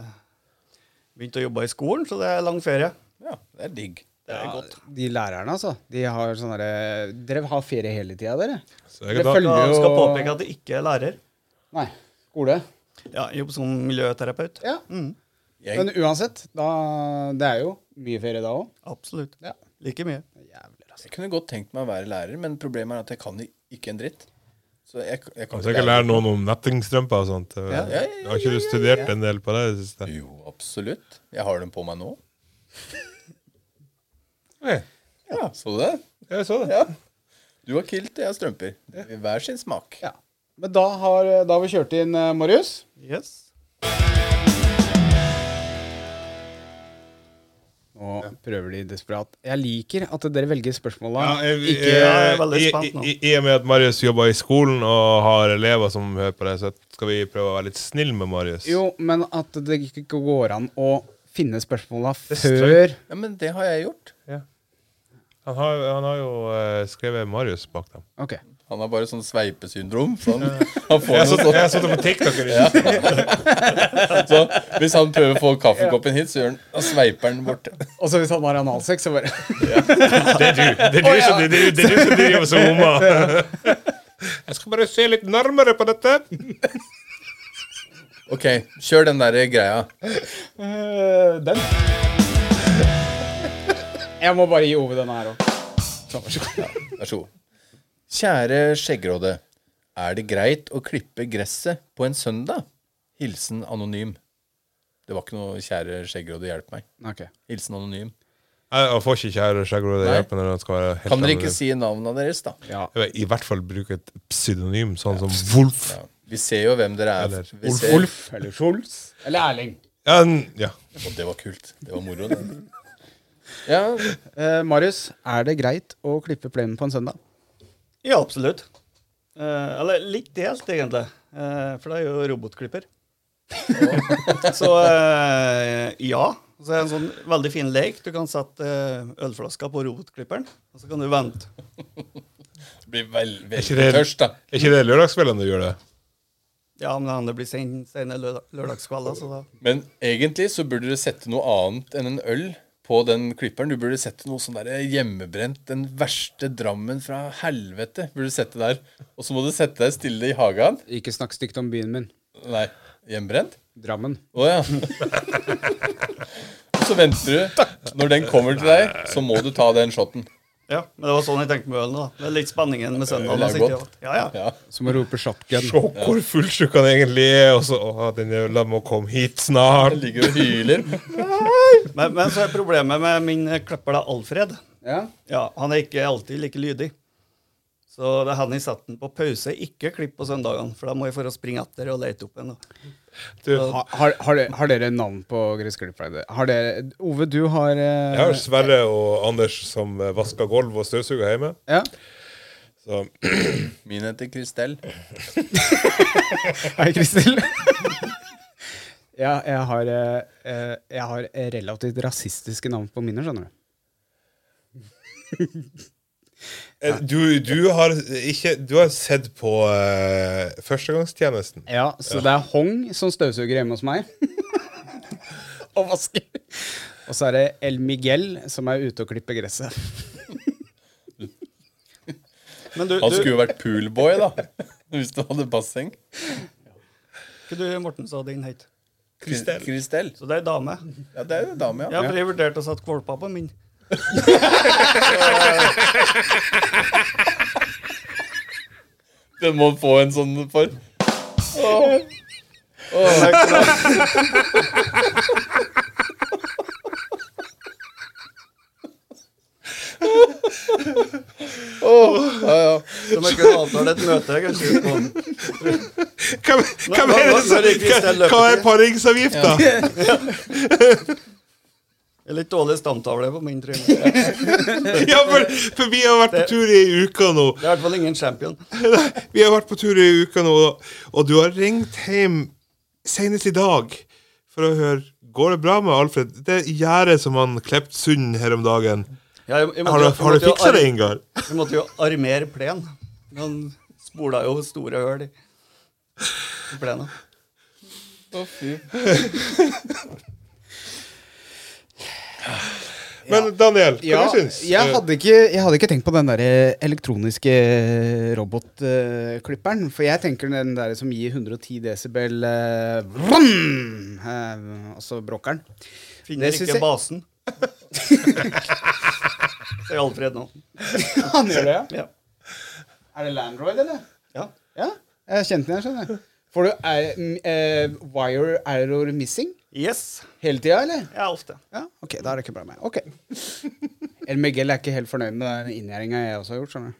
[SPEAKER 6] begynt å jobbe i skolen, så det er lang ferie.
[SPEAKER 2] Ja, det er digg.
[SPEAKER 6] Det er godt.
[SPEAKER 1] De lærerne, altså. De har sånn derre Dere har ferie hele tida, dere?
[SPEAKER 3] Så jeg kan ta-
[SPEAKER 1] følger-
[SPEAKER 6] Jeg
[SPEAKER 1] jo-
[SPEAKER 6] skal påpeke at jeg ikke er lærer.
[SPEAKER 1] Nei. Skole?
[SPEAKER 6] Ja, jeg jobber som miljøterapeut.
[SPEAKER 1] Ja.
[SPEAKER 6] Mm.
[SPEAKER 2] Jeg-
[SPEAKER 1] Men uansett, da, det er jo mye ferie da òg.
[SPEAKER 6] Absolutt.
[SPEAKER 1] Ja.
[SPEAKER 6] Like mye.
[SPEAKER 2] Jeg kunne godt tenkt meg å være lærer, men problemet er at jeg kan i- ikke en dritt. Så jeg, jeg kan
[SPEAKER 3] Så jeg kan Altså, lære noen om nettingstrømper og sånt.
[SPEAKER 2] Ja, ja, ja,
[SPEAKER 3] Har ikke du studert en del på det? i det siste?
[SPEAKER 2] Jo, absolutt. Jeg har dem på meg nå.
[SPEAKER 3] Ok,
[SPEAKER 2] Ja, Så du det?
[SPEAKER 3] jeg så det.
[SPEAKER 2] Ja. Du har kilt, jeg har strømper. I Hver sin smak.
[SPEAKER 1] Ja. Men da har, da har vi kjørt inn eh, Marius.
[SPEAKER 6] Yes.
[SPEAKER 1] Nå prøver de desperat. Jeg liker at dere velger spørsmåla.
[SPEAKER 3] Ja, jeg,
[SPEAKER 1] ikke
[SPEAKER 6] jeg er veldig
[SPEAKER 3] i-
[SPEAKER 6] spent nå.
[SPEAKER 3] i, i, I og med at Marius jobber i skolen og har elever som hører på det, så skal vi prøve å være litt snill med Marius.
[SPEAKER 1] Jo, men at det ikke går an å finne spørsmåla
[SPEAKER 3] står-
[SPEAKER 1] før
[SPEAKER 2] Ja, Men det har jeg gjort.
[SPEAKER 3] Han, har, han har jo eh, skrevet Marius bak dem.
[SPEAKER 1] Ok.
[SPEAKER 2] Han har bare sånn sveipesyndrom. Så han, han får
[SPEAKER 3] Jeg
[SPEAKER 2] noe
[SPEAKER 3] satt-
[SPEAKER 2] sånt.
[SPEAKER 3] jeg sånn. satt det på TikTok. Ja.
[SPEAKER 2] Så hvis han prøver å få kaffekoppen hit, så gjør han, da sveiper han bort.
[SPEAKER 1] Og så hvis han har analsex, så bare
[SPEAKER 3] Det er du Det er du som, det er du, det er du som driver sånn som mamma. Jeg skal bare se litt nærmere på dette.
[SPEAKER 2] OK, kjør den der greia.
[SPEAKER 1] eh, Den. Jeg må bare gi Ove denne her òg.
[SPEAKER 2] Vær så god. Kjære Skjeggråde. Er det greit å klippe gresset på en søndag? Hilsen anonym. Det var ikke noe 'kjære Skjeggråde, hjelp meg'. Hilsen anonym.
[SPEAKER 3] Jeg får ikke kjære skjeggråde
[SPEAKER 2] Nei.
[SPEAKER 3] hjelp når han skal være helt
[SPEAKER 2] Kan dere ikke
[SPEAKER 3] anonym.
[SPEAKER 2] si navnene deres, da?
[SPEAKER 3] Jeg vil I hvert fall bruke et pseudonym, sånn som Wolf.
[SPEAKER 2] Ja. Vi ser jo hvem dere er.
[SPEAKER 3] Eller
[SPEAKER 2] Vi
[SPEAKER 3] Ulf-
[SPEAKER 2] ser.
[SPEAKER 1] Ulf eller Scholz eller Erling.
[SPEAKER 3] Ja, n- ja.
[SPEAKER 2] Å, det var kult. Det var moro, det. Ja,
[SPEAKER 1] Eh, Marius, er det greit å klippe plenen på en søndag?
[SPEAKER 6] Ja, absolutt. Eh, eller litt delt, egentlig. Eh, for det er jo robotklipper. Og- så eh, ja. Så er det en sånn veldig fin lek. Du kan sette eh, ølflaska på robotklipperen, og så kan du vente.
[SPEAKER 2] det blir vel, veldig
[SPEAKER 3] ikke det-
[SPEAKER 2] tørst, da.
[SPEAKER 3] Er ikke det lørdagskveldene du gjør det?
[SPEAKER 6] Ja, men det hender blir sen, sene lø lørdagskvelder, så da
[SPEAKER 2] Men egentlig så burde dere sette noe annet enn en øl på den klipperen. Du burde sette noe sånn der hjemmebrent, den verste Drammen fra helvete. Burde du sette der. Og så må du sette deg stille i hagen.
[SPEAKER 1] Ikke snakk stygt om byen min.
[SPEAKER 2] Nei, hjemmebrent?
[SPEAKER 1] Drammen.
[SPEAKER 2] Å ja. Og så venter du. Når den kommer til deg, så må du ta den shoten.
[SPEAKER 6] Ja, men det var sånn jeg tenkte med ølen, da. Det er litt spenningen med søndagen.
[SPEAKER 2] Øl er
[SPEAKER 6] da sitter jeg
[SPEAKER 2] godt.
[SPEAKER 6] og- Ja, ja.
[SPEAKER 2] Ja.
[SPEAKER 1] Som å rope shotgun.
[SPEAKER 3] Se hvor fullsjuk han egentlig er, og så Å, den jævla må komme hit snart.
[SPEAKER 2] Ligger og hyler.
[SPEAKER 6] Men, men så er problemet med min klipper, da, Alfred.
[SPEAKER 1] Ja.
[SPEAKER 6] Ja, Han er ikke alltid like lydig. Så det er han jeg setter den på pause. Ikke klipp på søndagene, for da må jeg for å springe etter og lete opp en. da.
[SPEAKER 3] Du,
[SPEAKER 1] Ha, har, har, dere, har dere navn på gressklipperne? Har dere Ove, du har eh,
[SPEAKER 3] jeg har Sverre og Anders som eh, vasker gulv og støvsuger hjemme.
[SPEAKER 1] ja.
[SPEAKER 3] Så
[SPEAKER 2] Min heter Kristel.
[SPEAKER 1] Hei, Kristel. ja, jeg har, eh, eh, jeg har relativt rasistiske navn på mine, skjønner du.
[SPEAKER 3] Eh, Du, du har ikke Du har sett på eh, Førstegangstjenesten.
[SPEAKER 1] Ja, Så det er Hong som støvsuger hjemme hos meg. og vasker. Og så er det El Miguel som er ute og klipper gresset.
[SPEAKER 6] Men du,
[SPEAKER 2] Han
[SPEAKER 6] du,
[SPEAKER 2] skulle jo vært poolboy, da. Hvis du hadde basseng.
[SPEAKER 6] ikke du Morten, sa din høyt.
[SPEAKER 2] Kristel. Kristel.
[SPEAKER 6] Så det er ei dame.
[SPEAKER 2] Ja, det er jo en dame,
[SPEAKER 6] Ja, for jeg vurderte å sette kvalpa på min.
[SPEAKER 2] Den må få en sånn for.
[SPEAKER 6] Så vi kunne avtale et møte. kanskje ut på.
[SPEAKER 3] Hvem, hvem er det
[SPEAKER 6] nå-
[SPEAKER 3] som
[SPEAKER 6] nå er det Kristel
[SPEAKER 3] Hva hva er
[SPEAKER 6] Løkke.
[SPEAKER 3] paringsavgifta?
[SPEAKER 6] Jeg er Litt dårlig stamtavle på min. tror jeg.
[SPEAKER 3] Ja, for, for vi har vært på tur i ei uke nå.
[SPEAKER 6] Det er i hvert fall ingen champion.
[SPEAKER 3] Vi har vært på tur i ei uke nå, og du har ringt hjem senest i dag for å høre Går det bra med Alfred? Det er gjerdet som han klept sund her om dagen.
[SPEAKER 6] Ja, jeg, jeg måtte
[SPEAKER 3] Har du,
[SPEAKER 6] jo- jeg
[SPEAKER 3] har
[SPEAKER 6] måtte
[SPEAKER 3] du
[SPEAKER 6] jo
[SPEAKER 3] fiksa
[SPEAKER 6] ar-
[SPEAKER 3] det, Ingar?
[SPEAKER 6] Vi måtte jo armere plen. Han spola jo store høl i i plenen.
[SPEAKER 2] Å, fy.
[SPEAKER 3] Men Daniel, hva
[SPEAKER 1] Ja,
[SPEAKER 3] du syns Eh, du?
[SPEAKER 1] jeg, hadde ikke, jeg hadde ikke tenkt på den der eh, elektroniske eh, robotklipperen. For jeg tenker den der som gir 110 desibel eh, vrann, eh, Altså bråkeren.
[SPEAKER 6] Finner
[SPEAKER 1] synes
[SPEAKER 6] ikke
[SPEAKER 1] jeg-
[SPEAKER 6] basen. Det er Alfred nå.
[SPEAKER 1] Han gjør det, ja.
[SPEAKER 6] Ja.
[SPEAKER 1] Er det Landroid, eller?
[SPEAKER 6] ja.
[SPEAKER 1] Ja. Jeg kjente den, jeg skjønner. Får du er, m- eh, wire error missing
[SPEAKER 6] Yes.
[SPEAKER 1] hele tida, eller?
[SPEAKER 6] Ja, ofte.
[SPEAKER 1] Ja, OK, da er det ikke bra med meg. OK. El Miguel er ikke helt fornøyd med den inngjerdinga jeg også har gjort, skjønner du.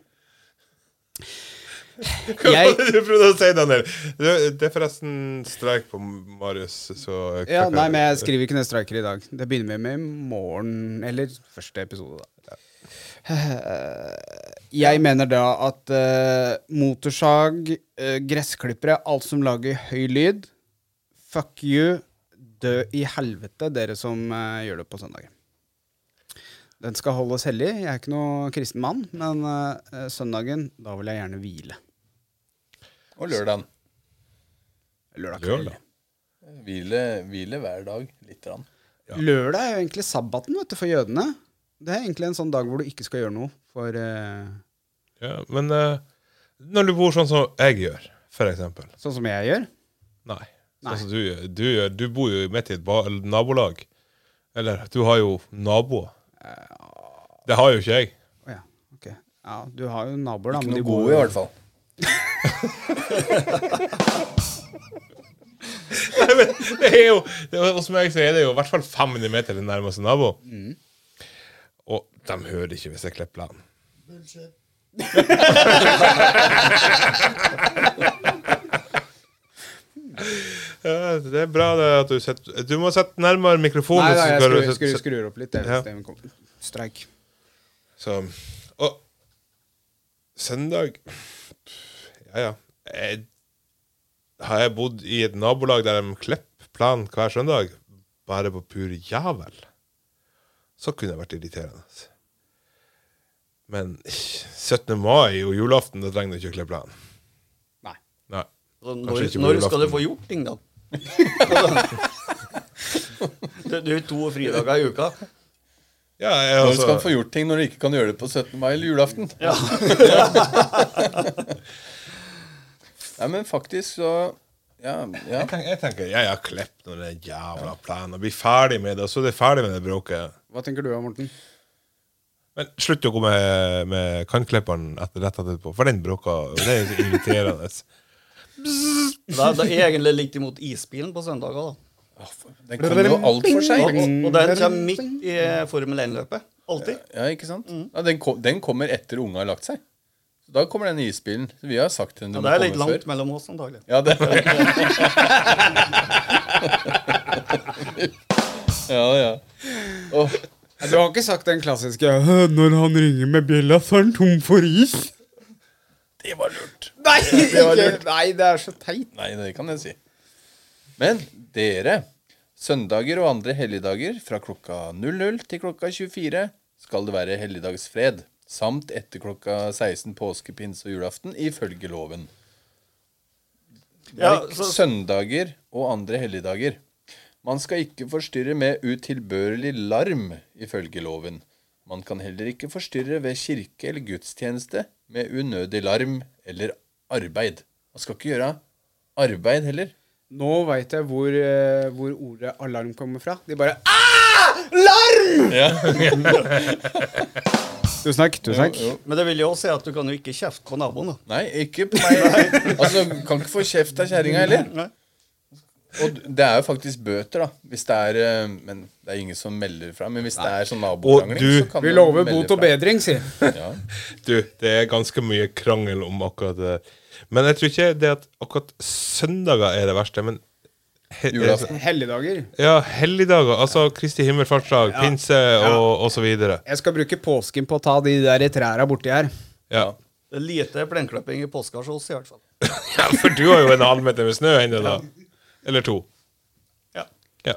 [SPEAKER 3] Hva
[SPEAKER 1] Jeg-
[SPEAKER 3] var det du prøvde å si, Daniel? Det, det er forresten streik på Marius, så
[SPEAKER 1] Ja, nei, men jeg skriver ikke ned striker i dag. Det begynner vi med i morgen, eller første episode, da. Jeg mener da at eh, motorsag, eh, gressklippere, alt som lager høy lyd Fuck you. Dø i helvete, dere som eh, gjør det på søndager. Den skal holdes hellig. Jeg er ikke noe kristen mann, men eh, søndagen, da vil jeg gjerne hvile.
[SPEAKER 2] Og lørdagen.
[SPEAKER 1] Lørdag kveld.
[SPEAKER 3] Lørdag.
[SPEAKER 1] da.
[SPEAKER 2] Hvile, hvile hver dag. Litt. Rann.
[SPEAKER 1] Lørdag er jo egentlig sabbaten vet du, for jødene. Det er egentlig en sånn dag hvor du ikke skal gjøre noe. For eh,
[SPEAKER 3] Ja, men eh, når du bor sånn som jeg gjør, for eksempel
[SPEAKER 1] sånn som jeg gjør.
[SPEAKER 3] Nei.
[SPEAKER 1] Nei.
[SPEAKER 3] Sånn som du, gjør. du, gjør- du bor jo midt i et ba- nabolag. Eller du har jo naboer.
[SPEAKER 1] Eh,
[SPEAKER 3] Det har jo ikke jeg.
[SPEAKER 1] Å ja, ok. Ja, du har jo naboer, da. men
[SPEAKER 2] Ikke
[SPEAKER 1] de
[SPEAKER 2] noe
[SPEAKER 1] bor
[SPEAKER 2] gode, i hvert fall.
[SPEAKER 3] det er jo, det, er- hos meg så er det jo i hvert fall 500 meter til nærmeste nabo.
[SPEAKER 1] Mm.
[SPEAKER 3] Og de hører ikke hvis jeg klipper land. ja, det er bra det at du setter Du må sette nærmere mikrofonen.
[SPEAKER 1] Nei, nei, jeg
[SPEAKER 3] så skal du
[SPEAKER 1] skrur, skrur,
[SPEAKER 3] sette-
[SPEAKER 1] skrur opp litt. det er
[SPEAKER 3] Ja.
[SPEAKER 1] hvis det kommer. Streik.
[SPEAKER 3] så, og søndag Ja, ja. Jeg, har jeg bodd i et nabolag der de klipper planen hver søndag, bare på pur javel, så kunne det vært irriterende. altså. Men 17. mai og julaften, da trenger du ikke å klippe planen.
[SPEAKER 1] Nei.
[SPEAKER 3] Nei.
[SPEAKER 6] Så
[SPEAKER 3] Kanskje
[SPEAKER 6] når,
[SPEAKER 3] ikke på
[SPEAKER 6] når
[SPEAKER 3] julaften.
[SPEAKER 6] skal du få gjort ting, da? Det det er jo to fridager i uka.
[SPEAKER 3] Ja, jeg,
[SPEAKER 2] Når
[SPEAKER 3] altså,
[SPEAKER 2] skal du få gjort ting når du ikke kan gjøre det på 17. mai eller julaften?
[SPEAKER 6] Ja.
[SPEAKER 2] Nei, men faktisk så Ja. ja.
[SPEAKER 3] jeg, tenker, jeg tenker jeg har klippet noen jævla planer, blir ferdig med det, og så er det ferdig med det bråket.
[SPEAKER 1] Hva tenker du, Morten?
[SPEAKER 3] Men slutt å gå med, med kantklipperen etter rett etterpå, for den bråka Det er så irriterende.
[SPEAKER 6] Da, da er jeg egentlig litt imot isbilen på søndager. da.
[SPEAKER 2] Åh, for- Den kom jo altfor
[SPEAKER 6] Og,
[SPEAKER 2] seint.
[SPEAKER 6] og den kommer midt i eh, Formel 1-løpet. Alltid.
[SPEAKER 2] Ja, ikke sant? Ja, den, kom, den kommer etter unga har lagt seg. Så da kommer den isbilen. Så vi har sagt til den
[SPEAKER 6] Ja,
[SPEAKER 2] den
[SPEAKER 6] det er
[SPEAKER 2] må
[SPEAKER 6] litt
[SPEAKER 2] komme
[SPEAKER 6] langt
[SPEAKER 2] før.
[SPEAKER 6] mellom oss, antagelig.
[SPEAKER 2] Ja, det Ja, ja. Åh,
[SPEAKER 1] Du har ikke sagt den klassiske 'Når han ringer med bjella, så er han tom for is'?
[SPEAKER 2] det var lurt.
[SPEAKER 1] Nei,
[SPEAKER 2] det var
[SPEAKER 1] ikke-
[SPEAKER 2] lurt.
[SPEAKER 1] nei, det er så teit.
[SPEAKER 2] Nei, det kan jeg si. Men dere, søndager og andre helligdager fra klokka 00 til klokka 24 skal det være helligdagsfred, samt etter klokka 16 påske, pinse og julaften, ifølge loven.
[SPEAKER 6] Ja,
[SPEAKER 2] Merk
[SPEAKER 6] så-
[SPEAKER 2] søndager og andre helligdager. Man skal ikke forstyrre med utilbørlig larm, ifølge loven. Man kan heller ikke forstyrre ved kirke eller gudstjeneste med unødig larm eller arbeid. Man skal ikke gjøre arbeid heller.
[SPEAKER 1] Nå veit jeg hvor, eh, hvor ordet alarm kommer fra. De bare Ah! Larm! tusen takk. Tusen takk.
[SPEAKER 2] Jo, jo.
[SPEAKER 6] Men det vil jo også si at du kan jo ikke kjefte på naboen, da.
[SPEAKER 2] Nei, ikke på meg. Altså, du kan ikke få kjeft av kjerringa heller.
[SPEAKER 6] Nei.
[SPEAKER 2] Og det er jo faktisk bøter, da. Hvis det er eh, Men det er ingen som melder fra. Men hvis det er sånn
[SPEAKER 3] Og
[SPEAKER 2] nabokrangling,
[SPEAKER 3] du-
[SPEAKER 2] så kan
[SPEAKER 1] Vi
[SPEAKER 2] man
[SPEAKER 1] lover
[SPEAKER 2] melde
[SPEAKER 1] bot og
[SPEAKER 2] fra.
[SPEAKER 1] bedring, sier
[SPEAKER 2] Ja.
[SPEAKER 3] Du, det er ganske mye krangel om akkurat det. Men jeg tror ikke det at akkurat søndager er det verste. Men he,
[SPEAKER 2] Julaften.
[SPEAKER 1] Helligdager.
[SPEAKER 3] Ja, helligdager. Altså Kristi himmelfartsdag, pinse og, og så videre.
[SPEAKER 1] Jeg skal bruke påsken på å ta de der trærne borti her.
[SPEAKER 3] Ja.
[SPEAKER 6] Det er lite plenklipping i påska hos oss, i hvert fall.
[SPEAKER 3] ja, for du har jo en halvmeter med snø ennå, da. Eller to.
[SPEAKER 6] Ja.
[SPEAKER 3] Ja.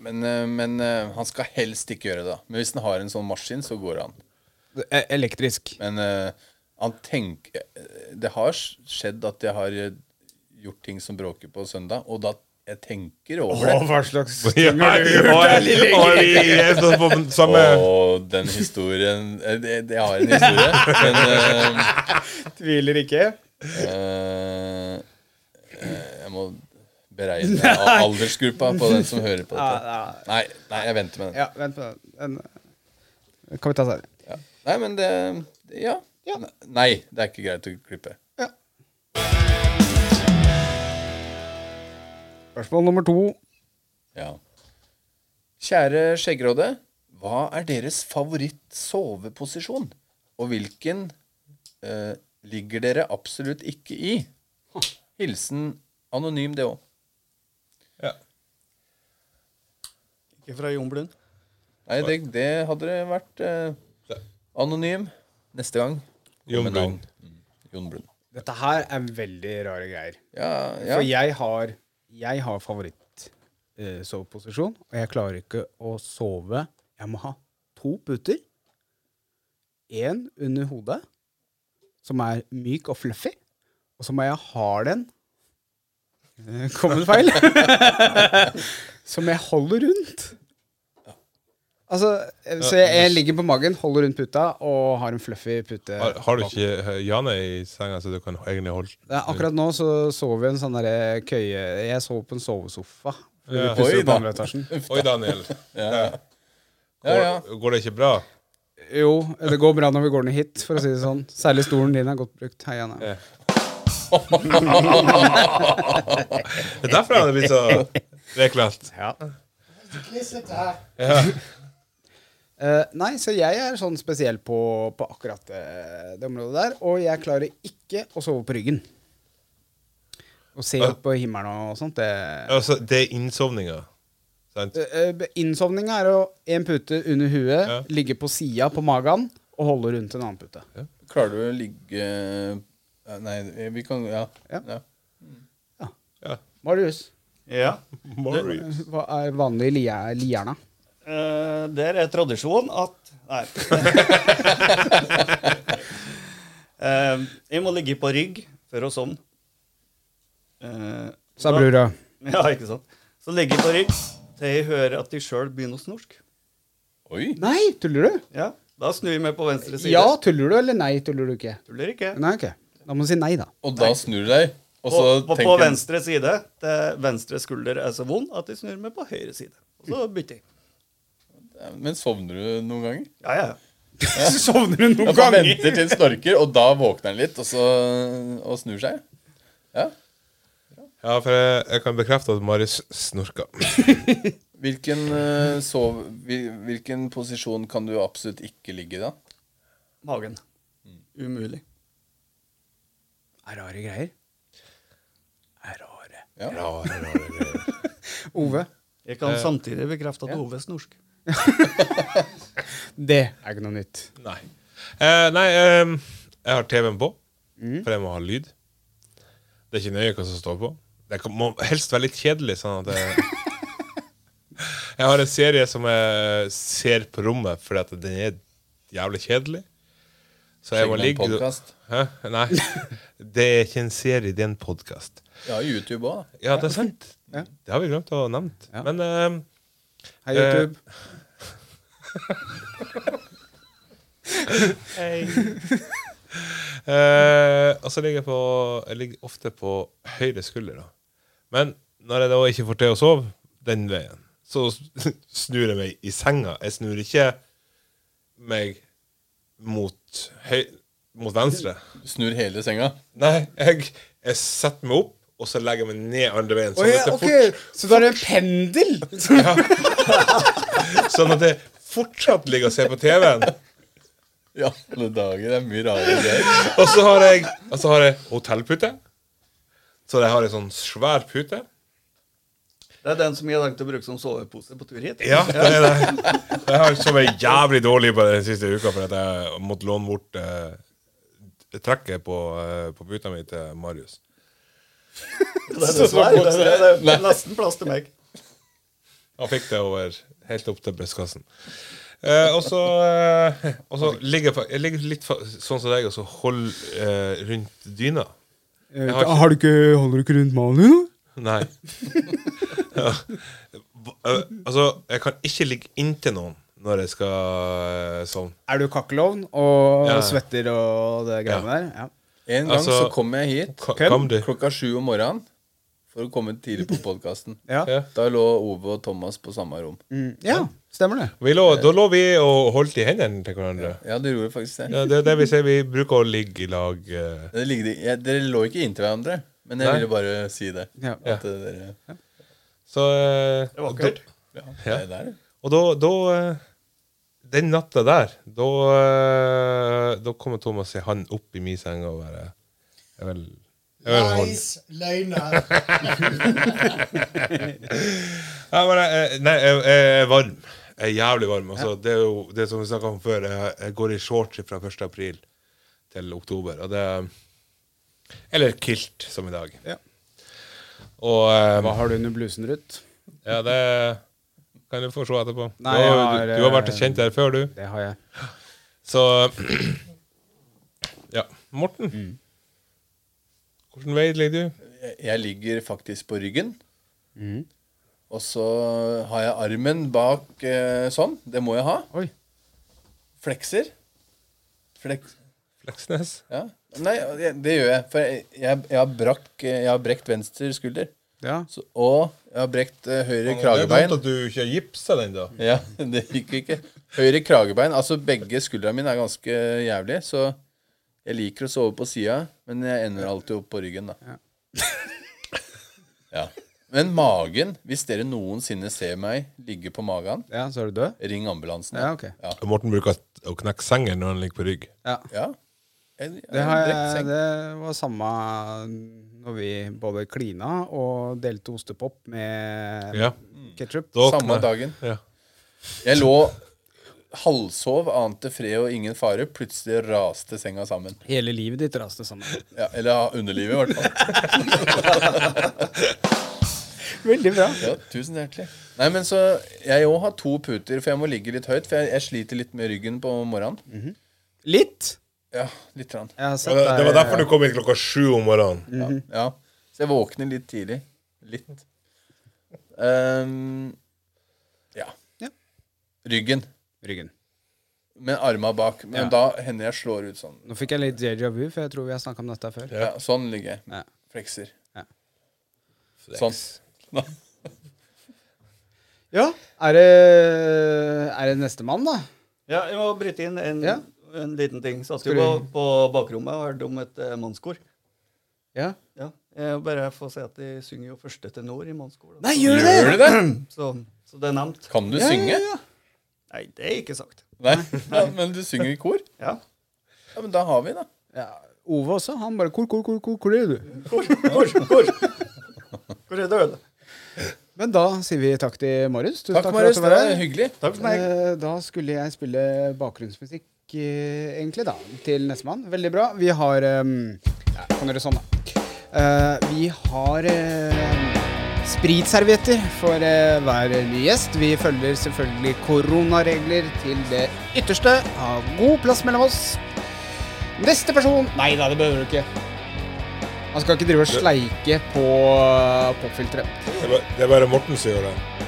[SPEAKER 2] Men, eh, men eh, han skal helst ikke gjøre det. da Men hvis han har en sånn maskin, så går han.
[SPEAKER 1] E- Elektrisk.
[SPEAKER 2] Men eh, han eh, tenker Det har skjedd at jeg har eh, gjort ting som bråker på søndag, og da Jeg tenker over det.
[SPEAKER 1] Å, hva slags
[SPEAKER 3] Ja,
[SPEAKER 1] ting har du gjort?
[SPEAKER 3] og- og vi er så på den samme
[SPEAKER 2] Og den historien eh, det- det- Jeg har en historie, men eh,
[SPEAKER 1] Tviler ikke.
[SPEAKER 2] eh, eh, Jeg må beregne al- aldersgruppa på den som hører på dette.
[SPEAKER 1] Ja,
[SPEAKER 2] Nei, nei jeg venter med den.
[SPEAKER 1] ja, vent på den. Den kan vi ta senere.
[SPEAKER 2] Ja. Nei, men det ja. Nei, det er ikke greit å klippe.
[SPEAKER 1] Spørsmål nummer to.
[SPEAKER 2] Ja. Kjære Skjeggråde, hva er deres favoritt-soveposisjon? Og hvilken eh, ligger dere absolutt ikke i? Hilsen anonym, det òg.
[SPEAKER 6] Ikke fra Jon Blund.
[SPEAKER 2] Nei, det, det hadde det vært eh, anonym neste gang.
[SPEAKER 3] Jon
[SPEAKER 2] Med
[SPEAKER 3] Blund.
[SPEAKER 2] navn. Mm, Jon Blund.
[SPEAKER 1] Dette her er veldig rare greier.
[SPEAKER 2] Ja,
[SPEAKER 1] For
[SPEAKER 2] ja.
[SPEAKER 1] jeg har, jeg har favorittsoveposisjon, og jeg klarer ikke å sove. Jeg må ha to puter. Én under hodet, som er myk og fluffy, og så må jeg ha den eh, Kommet feil. som jeg holder rundt. Altså, eh, så jeg, jeg ligger på magen, holder rundt puta og har en fluffy pute.
[SPEAKER 3] Har, har du ikke eh, Jane i senga, så du kan egentlig holde
[SPEAKER 1] Ja, akkurat nå så sover vi en sånn derre køye... Jeg sover på en sovesofa. Vi
[SPEAKER 3] Ja.
[SPEAKER 1] pusser
[SPEAKER 2] Oi,
[SPEAKER 1] opp
[SPEAKER 2] da.
[SPEAKER 1] andre etasjen.
[SPEAKER 3] Oi, Daniel.
[SPEAKER 2] ja,
[SPEAKER 3] Går,
[SPEAKER 2] ja.
[SPEAKER 3] går det ikke bra?
[SPEAKER 1] Jo, det går bra når vi går ned hit, for å si det sånn. Særlig stolen din er godt brukt. Hei, Anna.
[SPEAKER 3] Det er derfor han er blitt så reklagt.
[SPEAKER 1] Eh, nei, så jeg er sånn spesiell på, på akkurat det, det området der. Og jeg klarer ikke å sove på ryggen. Å se opp på himmelen og sånt, det
[SPEAKER 3] Altså, det er innsovninga. Sant?
[SPEAKER 1] Eh, eh, Innsovninga er å én pute under huet,
[SPEAKER 3] Ja.
[SPEAKER 1] ligge på sida på magen og holde rundt en annen pute.
[SPEAKER 2] Klarer du å ligge ja, Nei, eh, vi kan Ja.
[SPEAKER 1] Ja.
[SPEAKER 2] ja.
[SPEAKER 1] Marius,
[SPEAKER 6] Ja.
[SPEAKER 3] Morris.
[SPEAKER 1] hva er vanlig lia- lierna?
[SPEAKER 6] Eh, der er tradisjon at Nei. Eh, jeg må ligge på rygg for å sovne. Eh,
[SPEAKER 1] Sa
[SPEAKER 6] da-
[SPEAKER 1] brura.
[SPEAKER 6] Ja, ikke sant. Så ligger jeg på rygg til jeg hører at de sjøl begynner å snorke.
[SPEAKER 2] Oi!
[SPEAKER 1] Nei, tuller du?
[SPEAKER 6] Ja, Da snur jeg meg på venstre side.
[SPEAKER 1] Ja, tuller du, eller nei, tuller du ikke?
[SPEAKER 6] Tuller ikke.
[SPEAKER 1] Nei, ok. Da må du si nei, da.
[SPEAKER 2] Og da snur du deg, og
[SPEAKER 6] På,
[SPEAKER 2] så
[SPEAKER 6] på, på
[SPEAKER 2] tenker du
[SPEAKER 6] venstre side. til venstre skulder er så vond at jeg snur meg på høyre side. Og så bytter jeg.
[SPEAKER 2] Ja, Men sovner du noen ganger?
[SPEAKER 6] Ja, ja. ja.
[SPEAKER 1] Sovner du
[SPEAKER 2] Ja, man venter til den snorker, og da våkner den litt, og så og snur seg. Ja.
[SPEAKER 3] Ja, for jeg, jeg kan bekrefte at Marius snorka.
[SPEAKER 2] Hvilken, eh, sov, hvil- hvilken posisjon kan du absolutt ikke ligge i da?
[SPEAKER 6] Magen.
[SPEAKER 2] Mm.
[SPEAKER 6] Umulig.
[SPEAKER 1] Det er rare greier. Det er rare.
[SPEAKER 2] Ja.
[SPEAKER 1] Ove,
[SPEAKER 6] Jeg
[SPEAKER 1] Eh.
[SPEAKER 6] kan samtidig bekrefte at Ove er snorsk.
[SPEAKER 1] det er ikke noe nytt.
[SPEAKER 3] Nei. Eh, nei, ehm, jeg har TV-en på, for jeg må ha lyd. Det er ikke nøye hva som står på. Det kan, må helst være litt kjedelig. Sånn at jeg, jeg har en serie som jeg ser på rommet fordi at den er jævlig kjedelig. Så jeg må
[SPEAKER 2] Sjekk en
[SPEAKER 3] ligge
[SPEAKER 2] podcast.
[SPEAKER 3] Hæ? Nei. Det er ikke en serie, det er en podkast.
[SPEAKER 2] Ja, YouTube òg.
[SPEAKER 3] Ja, det er sant. Det har vi glemt å nevne.
[SPEAKER 1] Ja.
[SPEAKER 3] Men ehm,
[SPEAKER 1] Hei, YouTube.
[SPEAKER 3] Eh, og så ligger jeg, på, jeg ligger ofte på høyre skulder. Da. Men når jeg da ikke får til å sove den veien, så snur jeg meg i senga. Jeg snur ikke meg mot, høy, mot venstre.
[SPEAKER 2] Snur hele senga.
[SPEAKER 3] Nei, jeg, jeg setter meg opp, og så legger jeg meg ned andre veien.
[SPEAKER 1] Å
[SPEAKER 3] Sånn
[SPEAKER 1] ja,
[SPEAKER 3] at det,
[SPEAKER 1] ok, så da er det en pendel?
[SPEAKER 3] fort, sånn at jeg fortsatt ligger og ser på TV-en.
[SPEAKER 2] Ja, alle dager. Det er mye rarere greier.
[SPEAKER 3] Og så har jeg, og så har jeg hotellpute. Så jeg har ei sånn svær pute.
[SPEAKER 6] Det er den som jeg har tenkt å bruke som sovepose på tur hit.
[SPEAKER 3] Ja, det er det. Jeg har sovet jævlig dårlig på den siste uka for at jeg måtte låne bort eh, trekket på, eh, på puta mi til Marius.
[SPEAKER 6] Det er det som er. Det er, det er, det er nesten plass til meg.
[SPEAKER 3] Han fikk det over helt opp til brystkassen. Eh, og så eh, og så ligger jeg, fa- jeg ligger litt fa sånn som deg og så holder eh, rundt dyna.
[SPEAKER 1] Eh, Har du ikke, holder du ikke rundt malen din, da?
[SPEAKER 3] Nei. ja. Hva- eh, Altså, jeg kan ikke ligge inntil noen når jeg skal eh, sovne.
[SPEAKER 1] Er du kakkelovn og
[SPEAKER 3] Ja.
[SPEAKER 1] svetter og det greiene der? Ja.
[SPEAKER 2] En gang
[SPEAKER 3] Altså-
[SPEAKER 2] så kom jeg hit
[SPEAKER 3] Ka-
[SPEAKER 1] Hvem?
[SPEAKER 3] Kam du?
[SPEAKER 2] klokka sju om morgenen for å komme tidlig på podkasten.
[SPEAKER 1] Ja.
[SPEAKER 3] Ja.
[SPEAKER 2] Da lå Ove og Thomas på samme rom.
[SPEAKER 1] Mm, ja, stemmer det.
[SPEAKER 3] Vi lå, da lå vi og holdt i hendene til hverandre.
[SPEAKER 2] Ja, dere gjorde faktisk det.
[SPEAKER 3] Ja, det er det vi sier. Vi bruker å ligge i lag. eh.
[SPEAKER 2] Dere, ligger, jeg, dere lå ikke inntil hverandre, men jeg
[SPEAKER 3] Nei.
[SPEAKER 2] ville bare si det.
[SPEAKER 1] Ja.
[SPEAKER 2] At eh, dere
[SPEAKER 3] Så eh,
[SPEAKER 6] Det var kult.
[SPEAKER 2] Ja, det
[SPEAKER 3] Ja.
[SPEAKER 2] er der.
[SPEAKER 3] Og da, da eh, Den natta der, da, eh, da kommer Thomas sin hand opp i min seng og bare Jeg vil, jeg vil holde.
[SPEAKER 4] Nice løgner.
[SPEAKER 3] Ja, men jeg, jeg- nei, jeg, jeg er varm. Jeg er jævlig varm. Altså, Det er jo det som vi snakka om før. Jeg, jeg går i shorts fra 1. april til oktober. Og det Eller kilt, som i dag.
[SPEAKER 1] Ja.
[SPEAKER 3] Og eh,
[SPEAKER 1] Hva har du under blusen, Ruth?
[SPEAKER 3] Ja, det kan du få se etterpå.
[SPEAKER 1] Nei,
[SPEAKER 3] du, har,
[SPEAKER 1] jeg har,
[SPEAKER 3] du, du har vært
[SPEAKER 1] eh,
[SPEAKER 3] kjent der før, du.
[SPEAKER 1] Det har jeg.
[SPEAKER 3] Så Ja. Morten,
[SPEAKER 1] Mm.
[SPEAKER 3] hvordan vei ligger du?
[SPEAKER 2] Jeg- Jeg ligger faktisk på ryggen.
[SPEAKER 1] Mm.
[SPEAKER 2] Og så har jeg armen bak eh, sånn. Det må jeg ha.
[SPEAKER 1] Oi.
[SPEAKER 2] Flekser. Fleks...
[SPEAKER 3] Fleksnes?
[SPEAKER 2] Ja. Nei, jeg- det gjør jeg. For jeg, jeg, jeg, har, brakk, jeg har brekt venstre skulder.
[SPEAKER 1] Ja.
[SPEAKER 2] Så, og jeg har brekt eh, høyre kragebein.
[SPEAKER 3] at du ikke har gipsa den, da.
[SPEAKER 2] Ja, det gikk ikke. Høyre kragebein. Altså begge skuldra mine er ganske jævlig, så jeg liker å sove på sida, men jeg ender alltid opp på ryggen, da. Ja. Men magen Hvis dere noensinne ser meg ligge på magen,
[SPEAKER 1] ja, så er du død?
[SPEAKER 2] ring ambulansen.
[SPEAKER 1] Ja, ok.
[SPEAKER 2] Ja.
[SPEAKER 3] Morten bruker å knekke sengen når han ligger på rygg.
[SPEAKER 1] Ja.
[SPEAKER 2] ja. Jeg, jeg,
[SPEAKER 1] Det, har
[SPEAKER 2] brekt
[SPEAKER 1] jeg,
[SPEAKER 2] seng.
[SPEAKER 1] det var samme når vi både klina og delte ostepop med
[SPEAKER 3] Ja.
[SPEAKER 1] ketchup.
[SPEAKER 3] Da
[SPEAKER 2] Samme
[SPEAKER 3] kne-
[SPEAKER 2] dagen.
[SPEAKER 3] Ja.
[SPEAKER 2] jeg lå halvsov, ante fred og ingen fare. Plutselig raste senga sammen.
[SPEAKER 1] Hele livet ditt raste sammen.
[SPEAKER 2] Ja, eller underlivet, i hvert fall.
[SPEAKER 1] Veldig bra.
[SPEAKER 2] Ja, tusen hjertelig. Nei, men så Jeg òg har to puter, for jeg må ligge litt høyt. For jeg, jeg sliter litt med ryggen på morgenen.
[SPEAKER 1] Litt.
[SPEAKER 2] Ja, litt. Rann.
[SPEAKER 1] Jeg har sett
[SPEAKER 3] Det, det var
[SPEAKER 1] deg-
[SPEAKER 3] derfor du kom inn klokka sju om morgenen.
[SPEAKER 1] Mhm.
[SPEAKER 2] Ja. Så jeg våkner litt tidlig. Litt. Ehm, ja.
[SPEAKER 1] Ja.
[SPEAKER 2] Ryggen.
[SPEAKER 1] Ryggen.
[SPEAKER 2] Med arma bak. Men
[SPEAKER 1] Ja.
[SPEAKER 2] da hender jeg slår ut sånn.
[SPEAKER 1] Nå fikk jeg litt deja vu, for jeg tror vi har snakka om dette før.
[SPEAKER 2] Ja, sånn ligger jeg.
[SPEAKER 1] Ja.
[SPEAKER 2] Flekser.
[SPEAKER 1] Ja.
[SPEAKER 2] Sånn.
[SPEAKER 1] Ja, er det, er det nestemann, da?
[SPEAKER 6] Ja, jeg må bryte inn en,
[SPEAKER 1] Ja.
[SPEAKER 6] en liten ting. Satt
[SPEAKER 1] Skal
[SPEAKER 6] jo
[SPEAKER 1] du-
[SPEAKER 6] på, på bakrommet og hørte om et eh, mannskor.
[SPEAKER 1] Ja.
[SPEAKER 6] Ja, jeg bare får si at de synger jo første tenor i mannskor. da.
[SPEAKER 1] Nei,
[SPEAKER 6] Så-
[SPEAKER 1] gjør du det?
[SPEAKER 2] Gjør du det?
[SPEAKER 6] Så, så det er nevnt.
[SPEAKER 2] Kan du
[SPEAKER 1] Ja,
[SPEAKER 2] synge?
[SPEAKER 1] ja, ja.
[SPEAKER 6] Nei, det er ikke sagt.
[SPEAKER 2] Nei, ja, men du synger i kor?
[SPEAKER 6] Ja.
[SPEAKER 2] Ja, men da har vi, da.
[SPEAKER 1] Ja, Ove også. Han bare Hvor, hvor, hvor, hvor, hvor er du?
[SPEAKER 6] Hvor, hvor, hvor? Hvor er død?
[SPEAKER 1] Men da sier vi takk til Marius. Tusen
[SPEAKER 2] Takk, Marius.
[SPEAKER 1] at
[SPEAKER 2] Det
[SPEAKER 1] du var
[SPEAKER 2] var
[SPEAKER 1] her.
[SPEAKER 2] hyggelig.
[SPEAKER 6] Takk for meg.
[SPEAKER 1] Eh, Da skulle jeg spille bakgrunnsmusikk, eh, egentlig, da. Til nestemann. Veldig bra. Vi har ehm, ja, Kan gjøre sånn, da. Eh, vi har eh, spritservietter for eh, hver ny gjest. Vi følger selvfølgelig koronaregler til det ytterste. Ha god plass mellom oss. Neste person Nei da, det behøver du ikke. Man skal ikke drive og sleike på eh, popfilteret.
[SPEAKER 3] Det er bare- det er bare Morten som gjør det.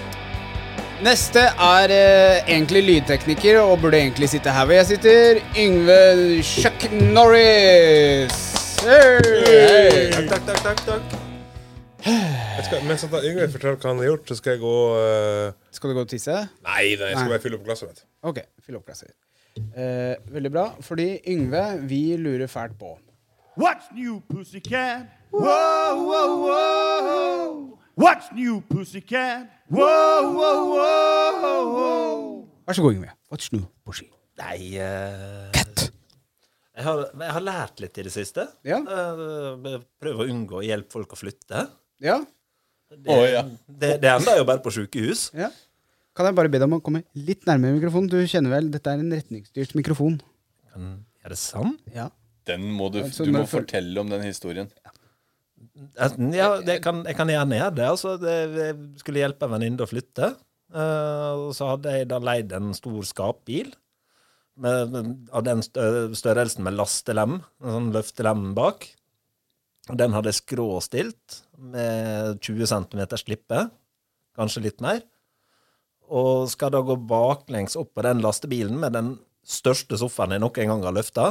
[SPEAKER 1] Neste er eh, egentlig lydtekniker og burde egentlig sitte her hvor jeg sitter. Yngve Chuck Norris. Hey!
[SPEAKER 6] Takk, takk, takk. takk, takk.
[SPEAKER 3] Jeg skal, mens at Yngve forteller hva han har gjort, så skal jeg gå eh,
[SPEAKER 1] Skal du gå og tisse?
[SPEAKER 3] Nei, nei, jeg skal
[SPEAKER 1] Nei.
[SPEAKER 3] bare fylle opp glasset mitt.
[SPEAKER 1] Ok, fyll opp glasset. Eh, veldig bra, fordi Yngve, vi lurer fælt på.
[SPEAKER 5] What's new, pussycat? Whoa, whoa, whoa. What's new, pussycat? Whoa, whoa, whoa, whoa.
[SPEAKER 1] Vær så god, Yngve. What's new, Boshi?
[SPEAKER 7] Nei eh,
[SPEAKER 1] Cat.
[SPEAKER 7] jeg, har, jeg har lært litt i det siste.
[SPEAKER 1] Ja.
[SPEAKER 7] Eh, prøver å unngå å hjelpe folk å flytte.
[SPEAKER 1] Ja?
[SPEAKER 7] Det,
[SPEAKER 2] Å, ja.
[SPEAKER 7] det, det ender jo bare på sykehus.
[SPEAKER 1] ja? Kan jeg bare be deg om å komme litt nærmere mikrofonen? Du kjenner vel, dette er en retningsstyrt mikrofon.
[SPEAKER 7] Er det sant?
[SPEAKER 1] Ja.
[SPEAKER 2] Den må du,
[SPEAKER 1] Altså,
[SPEAKER 2] du
[SPEAKER 1] når
[SPEAKER 2] må
[SPEAKER 1] du føl-
[SPEAKER 2] fortelle om den historien.
[SPEAKER 7] Enten- Ja, det kan, jeg kan gjerne gjøre det. Altså, det jeg skulle hjelpe en venninne å flytte. Eh, og så hadde jeg da leid en stor skapbil. Med, med, av den stø- størrelsen med lastelem. En sånn løftelem bak. Den hadde skråstilt med 20 cm slippe, kanskje litt mer. Og skal da gå baklengs opp på den lastebilen med den største sofaen jeg noen gang har løfta.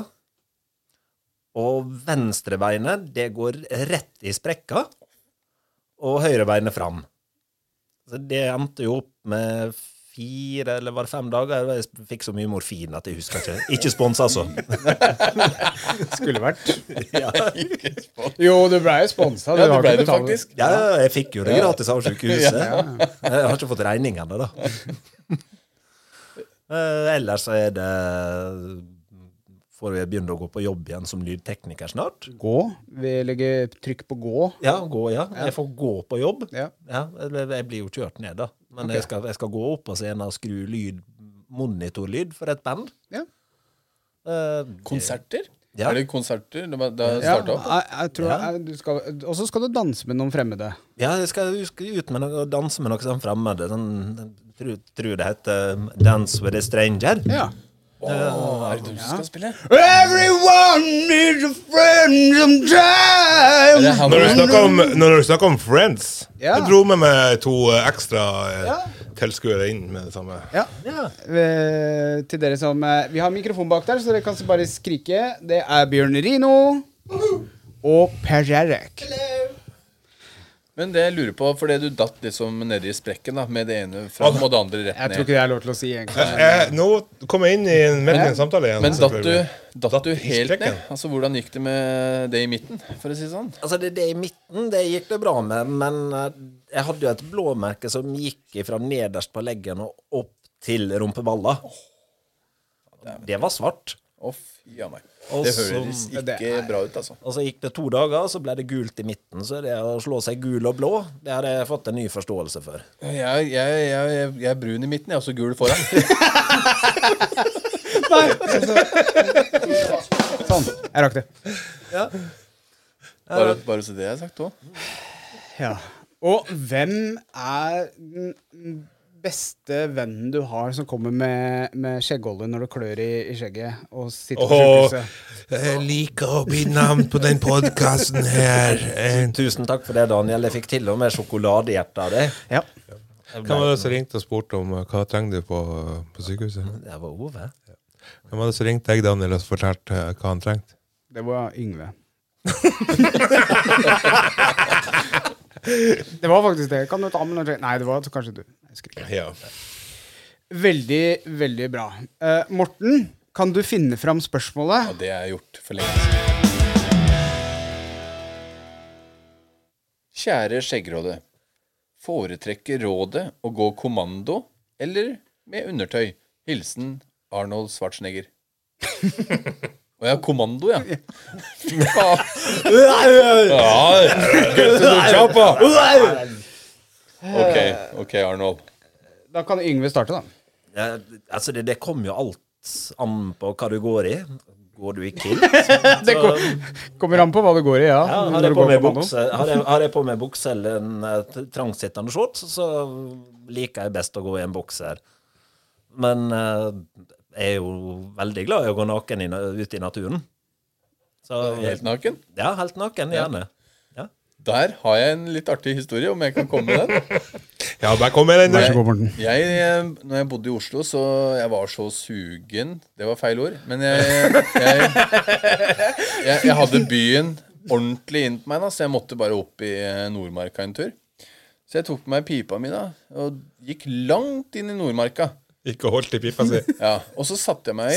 [SPEAKER 7] Og venstrebeinet, det går rett i sprekka, og høyrebeinet fram. Så det endte jo opp med fire, eller var det fem dager? Jeg fikk så mye morfin at jeg husker ikke. Ikke spons, altså.
[SPEAKER 1] Skulle vært.
[SPEAKER 7] Ja.
[SPEAKER 1] Jo, du blei jo sponsa.
[SPEAKER 2] Ja, det ble det faktisk.
[SPEAKER 7] Ja, jeg fikk jo det gratis av sykehuset. Jeg har ikke fått regningene, da. Eh, Ellers så er det Får jeg begynne å gå på jobb igjen som lydtekniker snart?
[SPEAKER 1] Gå. Vi legger trykk på gå.
[SPEAKER 7] Ja, gå, ja. Jeg får gå på jobb.
[SPEAKER 1] Ja.
[SPEAKER 7] Ja, eller jeg blir jo kjørt ned, da. Men jeg, skal, jeg skal gå opp på scenen og skru lyd, monitorlyd, for et band.
[SPEAKER 1] Ja.
[SPEAKER 7] Eh, det-
[SPEAKER 2] Konserter?
[SPEAKER 7] Ja.
[SPEAKER 2] Er det konserter da da
[SPEAKER 1] Ja,
[SPEAKER 2] starta opp?
[SPEAKER 1] jeg, jeg tror
[SPEAKER 7] Ja.
[SPEAKER 1] jeg, du skal, og så skal du danse med noen fremmede.
[SPEAKER 7] Ja, jeg skal, jeg skal ut med noe, og danse med noe sånn fremmede. Sånn, jeg tror, tror det heter um, Dance with a Stranger.
[SPEAKER 1] Ja.
[SPEAKER 2] Åh, er det du som skal spille?
[SPEAKER 1] Everyone needs a friend sometime.
[SPEAKER 2] Er det han
[SPEAKER 3] Når du snakker om, når du snakker om Friends
[SPEAKER 1] Ja.
[SPEAKER 3] Jeg dro med meg to eh, ekstra eh, tilskuere inn med det samme.
[SPEAKER 1] Ja. Eh, til dere som eh, Vi har mikrofon bak der, så dere kan så bare skrike. Det er Bjørn Rino og Per Jarek.
[SPEAKER 2] Men det jeg lurer på, fordi du datt liksom nedi sprekken da, med det ene fram og det andre
[SPEAKER 1] Jeg
[SPEAKER 2] rett
[SPEAKER 1] tror
[SPEAKER 2] ned.
[SPEAKER 1] ikke det er lov til å si, egentlig.
[SPEAKER 3] Eh, nå kom jeg inn i en, midt i en samtale igjen.
[SPEAKER 2] Men datt du,
[SPEAKER 3] selvfølgelig.
[SPEAKER 2] datt du
[SPEAKER 3] i
[SPEAKER 2] helt
[SPEAKER 3] sprekken?
[SPEAKER 2] ned? Altså, Hvordan gikk det med det i midten, for å si det sånn?
[SPEAKER 7] Altså, det, det i midten, det gikk det bra med, men eh, jeg hadde jo et blåmerke som gikk fra nederst på leggen og opp til rumpeballa. Det var svart.
[SPEAKER 2] Å, fy a meg.
[SPEAKER 7] Og
[SPEAKER 2] Det
[SPEAKER 7] så-
[SPEAKER 2] høres
[SPEAKER 1] det
[SPEAKER 2] ikke bra ut, altså.
[SPEAKER 7] Og så gikk det to dager, så ble det gult i midten. Så det å slå seg gul og blå, det har jeg fått en ny forståelse for.
[SPEAKER 2] Jeg, jeg, jeg, jeg, jeg er brun i midten, jeg er også gul foran.
[SPEAKER 1] Sånn. Jeg rakk det.
[SPEAKER 2] Bare, bare så det er sagt òg.
[SPEAKER 1] Ja. Og hvem er den beste vennen du har som kommer med, med skjeggolje når du klør i, i skjegget og sitter på
[SPEAKER 3] Åh.
[SPEAKER 1] sykehuset?
[SPEAKER 3] Jeg liker å bli navn på den podkasten her. Eh,
[SPEAKER 7] Tusen takk for det, Daniel. Jeg fikk til og med sjokoladehjerte av deg.
[SPEAKER 1] Ja.
[SPEAKER 3] Hvem var det som ringte og spurte om eh, hva trenger du på, på sykehuset?
[SPEAKER 7] Det var Ove.
[SPEAKER 3] Hvem var det som ringte deg, Daniel, og fortalte eh, hva han trengte?
[SPEAKER 1] Det var Yngve. det var faktisk det. Kan du ta med noe? Nei, det var kanskje du. Jeg husker ikke.
[SPEAKER 3] Ja.
[SPEAKER 1] Veldig, veldig bra. Eh, Morten, kan du finne fram spørsmålet?
[SPEAKER 2] Og det er gjort for lenge siden. Kjære Skjeggråde. Foretrekker rådet å gå kommando eller med undertøy? Hilsen Arnold Schwarzenegger. Å ja, kommando, ja. ja get to the chopper. Ok, ok, Arnold.
[SPEAKER 1] Da kan Yngve starte, da.
[SPEAKER 7] Ja, altså det, det kommer jo alt an på hva du går i. Går du i kilt? så-
[SPEAKER 1] Kommer an på hva det går i, ja.
[SPEAKER 7] Ja, har,
[SPEAKER 1] Når
[SPEAKER 7] jeg
[SPEAKER 1] du
[SPEAKER 7] på
[SPEAKER 1] går
[SPEAKER 7] meg
[SPEAKER 1] kommando.
[SPEAKER 7] bukse, har, jeg, har jeg på meg bukse eller en eh, t- trangsittende shorts, så liker jeg best å gå i en bokser. Men eh, jeg er jo veldig glad i å gå naken i na- ute i naturen. Så
[SPEAKER 2] Helt naken?
[SPEAKER 7] Ja, helt naken, gjerne.
[SPEAKER 2] Der har jeg en litt artig historie, om jeg kan komme med den.
[SPEAKER 3] ja, bare kom med den,
[SPEAKER 1] Vær så
[SPEAKER 3] du.
[SPEAKER 1] god, Morten.
[SPEAKER 2] Jeg, eh, når jeg bodde i Oslo, så jeg var så sugen Det var feil ord. Men jeg, jeg, jeg, jeg hadde byen ordentlig inn på meg, da, så jeg måtte bare opp i eh, Nordmarka en tur. Så jeg tok med meg pipa mi da, og gikk langt inn i Nordmarka.
[SPEAKER 3] Ikke holdt i pipa si.
[SPEAKER 2] Ja, Og så satte jeg meg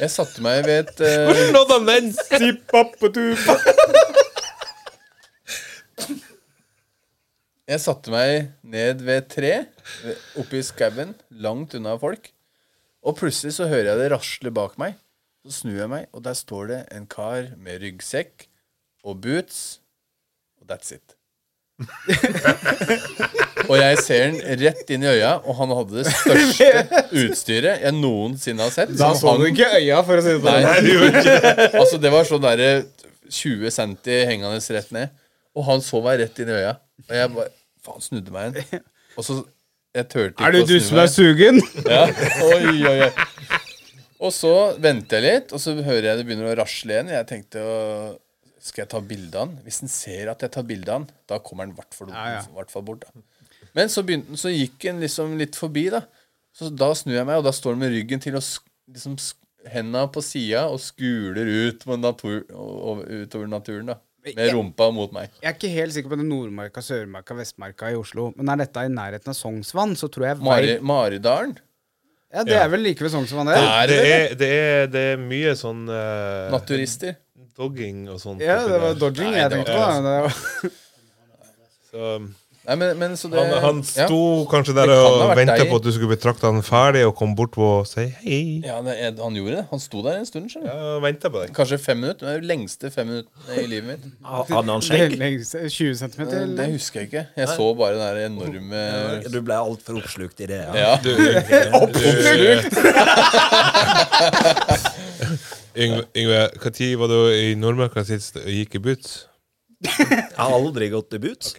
[SPEAKER 2] Jeg satte meg ved et eh,
[SPEAKER 3] Nådde han den? Sippappetupa.
[SPEAKER 2] Jeg satte meg ned ved et tre oppe i skauen, langt unna folk. Og plutselig så hører jeg det rasle bak meg. Så snur jeg meg, og der står det en kar med ryggsekk og boots. Og that's it. og jeg ser han rett inn i øya, og han hadde det største utstyret jeg noensinne har sett.
[SPEAKER 1] Da
[SPEAKER 2] som
[SPEAKER 1] så du
[SPEAKER 2] hang-
[SPEAKER 1] ikke øya, for å si det sånn.
[SPEAKER 2] Nei,
[SPEAKER 3] Det gjorde ikke
[SPEAKER 2] altså det var sånn derre 20 centi hengende rett ned. Og han så meg rett inn i øya. Og jeg bare Faen, snudde meg igjen. Og så Jeg turte ikke
[SPEAKER 1] Er det
[SPEAKER 2] å
[SPEAKER 1] du
[SPEAKER 2] snu
[SPEAKER 1] som er
[SPEAKER 2] meg.
[SPEAKER 1] sugen?
[SPEAKER 2] Ja. Oi, oi, oi. Og så venter jeg litt, og så hører jeg det begynner å rasle igjen. Jeg tenkte å Skal jeg ta bilde av han? Hvis han ser at jeg tar bilde av han, da kommer han i hvert fall
[SPEAKER 1] Ja, ja.
[SPEAKER 2] i hvert fall bort. da. Men så, begynte, han- så gikk han liksom litt forbi, da. Så da snur jeg meg, og da står han med ryggen til og sk- liksom sk- henda på sida og skuler ut på natur, og, og, utover naturen, da. Med
[SPEAKER 1] Jeg-
[SPEAKER 2] rumpa mot meg.
[SPEAKER 1] Jeg er ikke helt sikker på det er Nordmarka, Sørmarka, Vestmarka i Oslo. Men er dette i nærheten av Sognsvann, så tror jeg
[SPEAKER 2] Mari,
[SPEAKER 1] vei-
[SPEAKER 2] Maridalen?
[SPEAKER 1] Ja, Det
[SPEAKER 3] Ja.
[SPEAKER 1] er vel like ved Sognsvann, det?
[SPEAKER 3] Det, det, er, det, er, det er mye sånn eh,
[SPEAKER 2] Naturister?
[SPEAKER 3] dogging og sånt.
[SPEAKER 1] Ja, det var
[SPEAKER 3] oppi der.
[SPEAKER 1] dodging jeg
[SPEAKER 2] det
[SPEAKER 1] tenkte på.
[SPEAKER 2] var-
[SPEAKER 1] da. Det var-
[SPEAKER 3] Så,
[SPEAKER 2] Nei, men, men så det
[SPEAKER 3] han, han
[SPEAKER 2] ja.
[SPEAKER 3] sto kanskje
[SPEAKER 2] Det
[SPEAKER 3] der
[SPEAKER 2] kan ha
[SPEAKER 3] og
[SPEAKER 2] vært
[SPEAKER 3] venta
[SPEAKER 2] deg.
[SPEAKER 3] på at du skulle betrakte han ferdig, og kom bort på og si hei.
[SPEAKER 2] Ja, det, er- han gjorde det. Han sto der en stund. skjønner du.
[SPEAKER 3] Ja, venta på deg.
[SPEAKER 2] Kanskje fem minutter. Det er jo lengste fem minuttene i livet mitt.
[SPEAKER 7] Hadde han
[SPEAKER 1] Ah, det
[SPEAKER 7] skjegg?
[SPEAKER 1] lengste- 20 cm?
[SPEAKER 2] Eh, Det husker jeg ikke. Jeg så bare den der enorme
[SPEAKER 7] Du ble altfor oppslukt i det. Ja.
[SPEAKER 2] Ja.
[SPEAKER 3] Yngve, Yngve når var du i Nordmarka sist og gikk i boots?
[SPEAKER 7] Jeg har aldri gått i boots.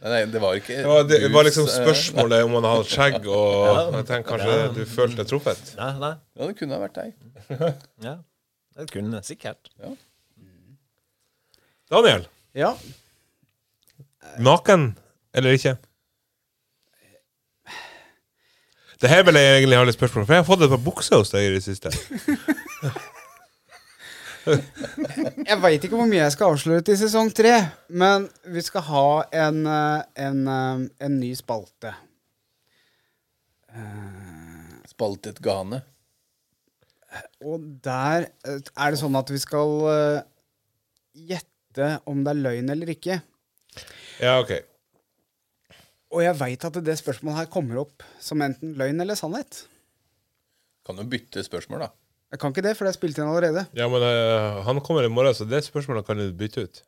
[SPEAKER 2] Nei, det var ikke
[SPEAKER 3] Det var, det var liksom
[SPEAKER 2] boots, eh,
[SPEAKER 3] spørsmålet om han hadde skjegg, og jeg tenkte kanskje du følte deg truffet.
[SPEAKER 7] Nei, nei.
[SPEAKER 2] Ja, det kunne ha vært deg.
[SPEAKER 7] Ja. Det kunne sikkert.
[SPEAKER 3] Daniel,
[SPEAKER 1] Ja.
[SPEAKER 3] naken eller ikke? Det her vil jeg egentlig ha litt spørsmål om, for jeg har fått et par bukser hos deg i det siste.
[SPEAKER 1] Jeg veit ikke hvor mye jeg skal avsløre til sesong tre, men vi skal ha en, eh, en, eh, en ny spalte.
[SPEAKER 2] Spaltet gane.
[SPEAKER 1] Og der eh, er det sånn at vi skal eh, gjette om det er løgn eller ikke.
[SPEAKER 3] Ja, ok.
[SPEAKER 1] Og jeg veit at det spørsmålet her kommer opp som enten løgn eller sannhet.
[SPEAKER 2] Kan jo bytte spørsmål, da.
[SPEAKER 1] Jeg kan ikke det, for det er spilt inn allerede.
[SPEAKER 3] Ja, men eh, han kommer i morgen, så det spørsmålet kan du bytte ut.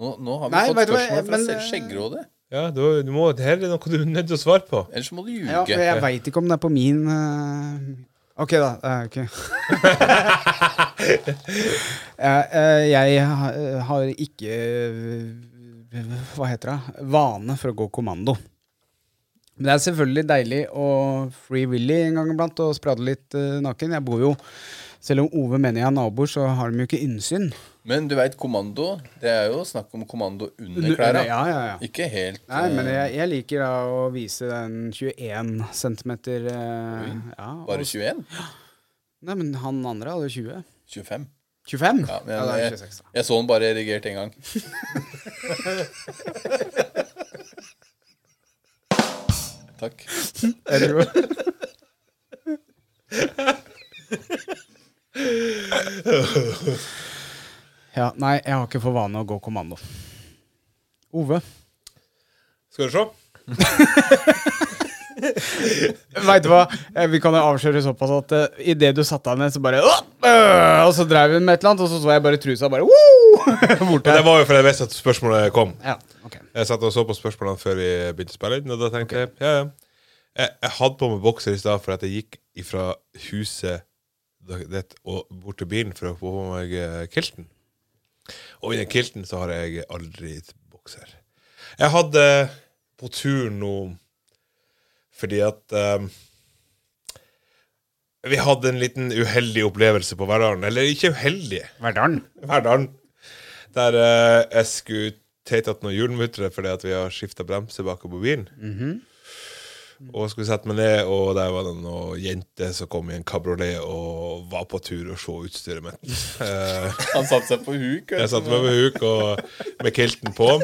[SPEAKER 2] Nå, nå har vi
[SPEAKER 1] Nei,
[SPEAKER 2] fått
[SPEAKER 1] vet du hva,
[SPEAKER 2] spørsmål fra
[SPEAKER 1] men- eh,
[SPEAKER 2] selv Skjeggrådet.
[SPEAKER 3] Ja, du, du må, det her er noe du er nødt til å svare på.
[SPEAKER 2] Ellers så må du ljuge.
[SPEAKER 1] Ja, men jeg veit ikke om det er på min eh, Ok, da. eh, ok. Eh, eh, jeg ha- eh, har ikke eh, Hva heter det? Vane for å gå kommando. Men det er selvfølgelig deilig å free willy en gang iblant og sprade litt eh, naken. Jeg bor jo Selv om Ove mener jeg er naboer, så har de jo ikke innsyn.
[SPEAKER 2] Men du veit, kommando Det er jo snakk om kommando under
[SPEAKER 1] Ja,
[SPEAKER 2] klærne.
[SPEAKER 1] ja, ja.
[SPEAKER 2] Ikke helt
[SPEAKER 1] Nei, men
[SPEAKER 2] eh,
[SPEAKER 1] jeg, jeg liker da å vise den 21 cm eh, ja, og
[SPEAKER 2] bare 21?
[SPEAKER 1] Nei, men han andre hadde jo 20.
[SPEAKER 2] 25?
[SPEAKER 1] 25?
[SPEAKER 2] Ja, men eh,
[SPEAKER 1] Ja, da er det
[SPEAKER 2] jeg,
[SPEAKER 1] 26, da.
[SPEAKER 2] jeg så den bare erigert én gang. Takk.
[SPEAKER 1] Ja, nei, jeg har ikke for vane å gå kommando. Ove,
[SPEAKER 3] Skal du se?
[SPEAKER 1] veit du hva? Eh, Vi kan jo avsløre såpass at uh, idet du satte deg ned, så bare «Åh!» øh, Og så dreiv hun med et eller annet, og så så jeg bare trusa bare «Woo!»
[SPEAKER 3] Men
[SPEAKER 1] borte.
[SPEAKER 3] det var jo fordi jeg visste at spørsmålet kom.
[SPEAKER 1] Ja, ok.
[SPEAKER 3] Jeg satt og så på spørsmålene før vi begynte å spille inn, og da tenkte jeg ja, ja. Jeg, jeg hadde på meg bokser i stad for at jeg gikk fra huset da- det, og bort til bilen for å få på meg eh, kilten. Og i den kilten så har jeg aldri gitt bokser. Jeg hadde på tur nå fordi at eh, vi hadde en liten uheldig opplevelse på Verdalen. Eller ikke uheldig.
[SPEAKER 1] Verdalen.
[SPEAKER 3] Verdalen. Der eh, jeg skulle teite at noen hjulmuttere fordi at vi har skifta bremser bak på bilen. Og skulle sette meg ned, og der var det noen jenter som kom i en kabriolet og var på tur og så utstyret mitt. Eh,
[SPEAKER 2] Han satte seg på huk.
[SPEAKER 3] jeg satte meg med huk og med kilten på.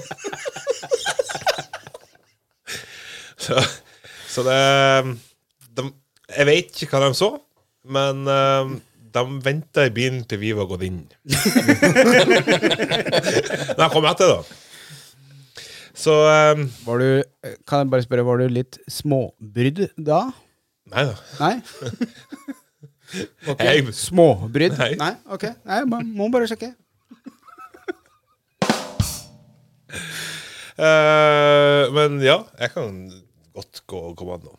[SPEAKER 3] Så, så det de, Jeg vet ikke hva de så, men eh, de venta i bilen til vi var gått inn. Nei, kom etter, da. Så eh,
[SPEAKER 1] Var du, eh, kan jeg bare spørre, var du litt småbrydd da?
[SPEAKER 3] Nei da.
[SPEAKER 1] Nei?
[SPEAKER 3] Jeg,
[SPEAKER 1] Småbrydd?
[SPEAKER 3] Nei.
[SPEAKER 1] Nei, ok. Nei, jeg bare- må bare sjekke.
[SPEAKER 3] eh, men ja, jeg kan godt gå kommando.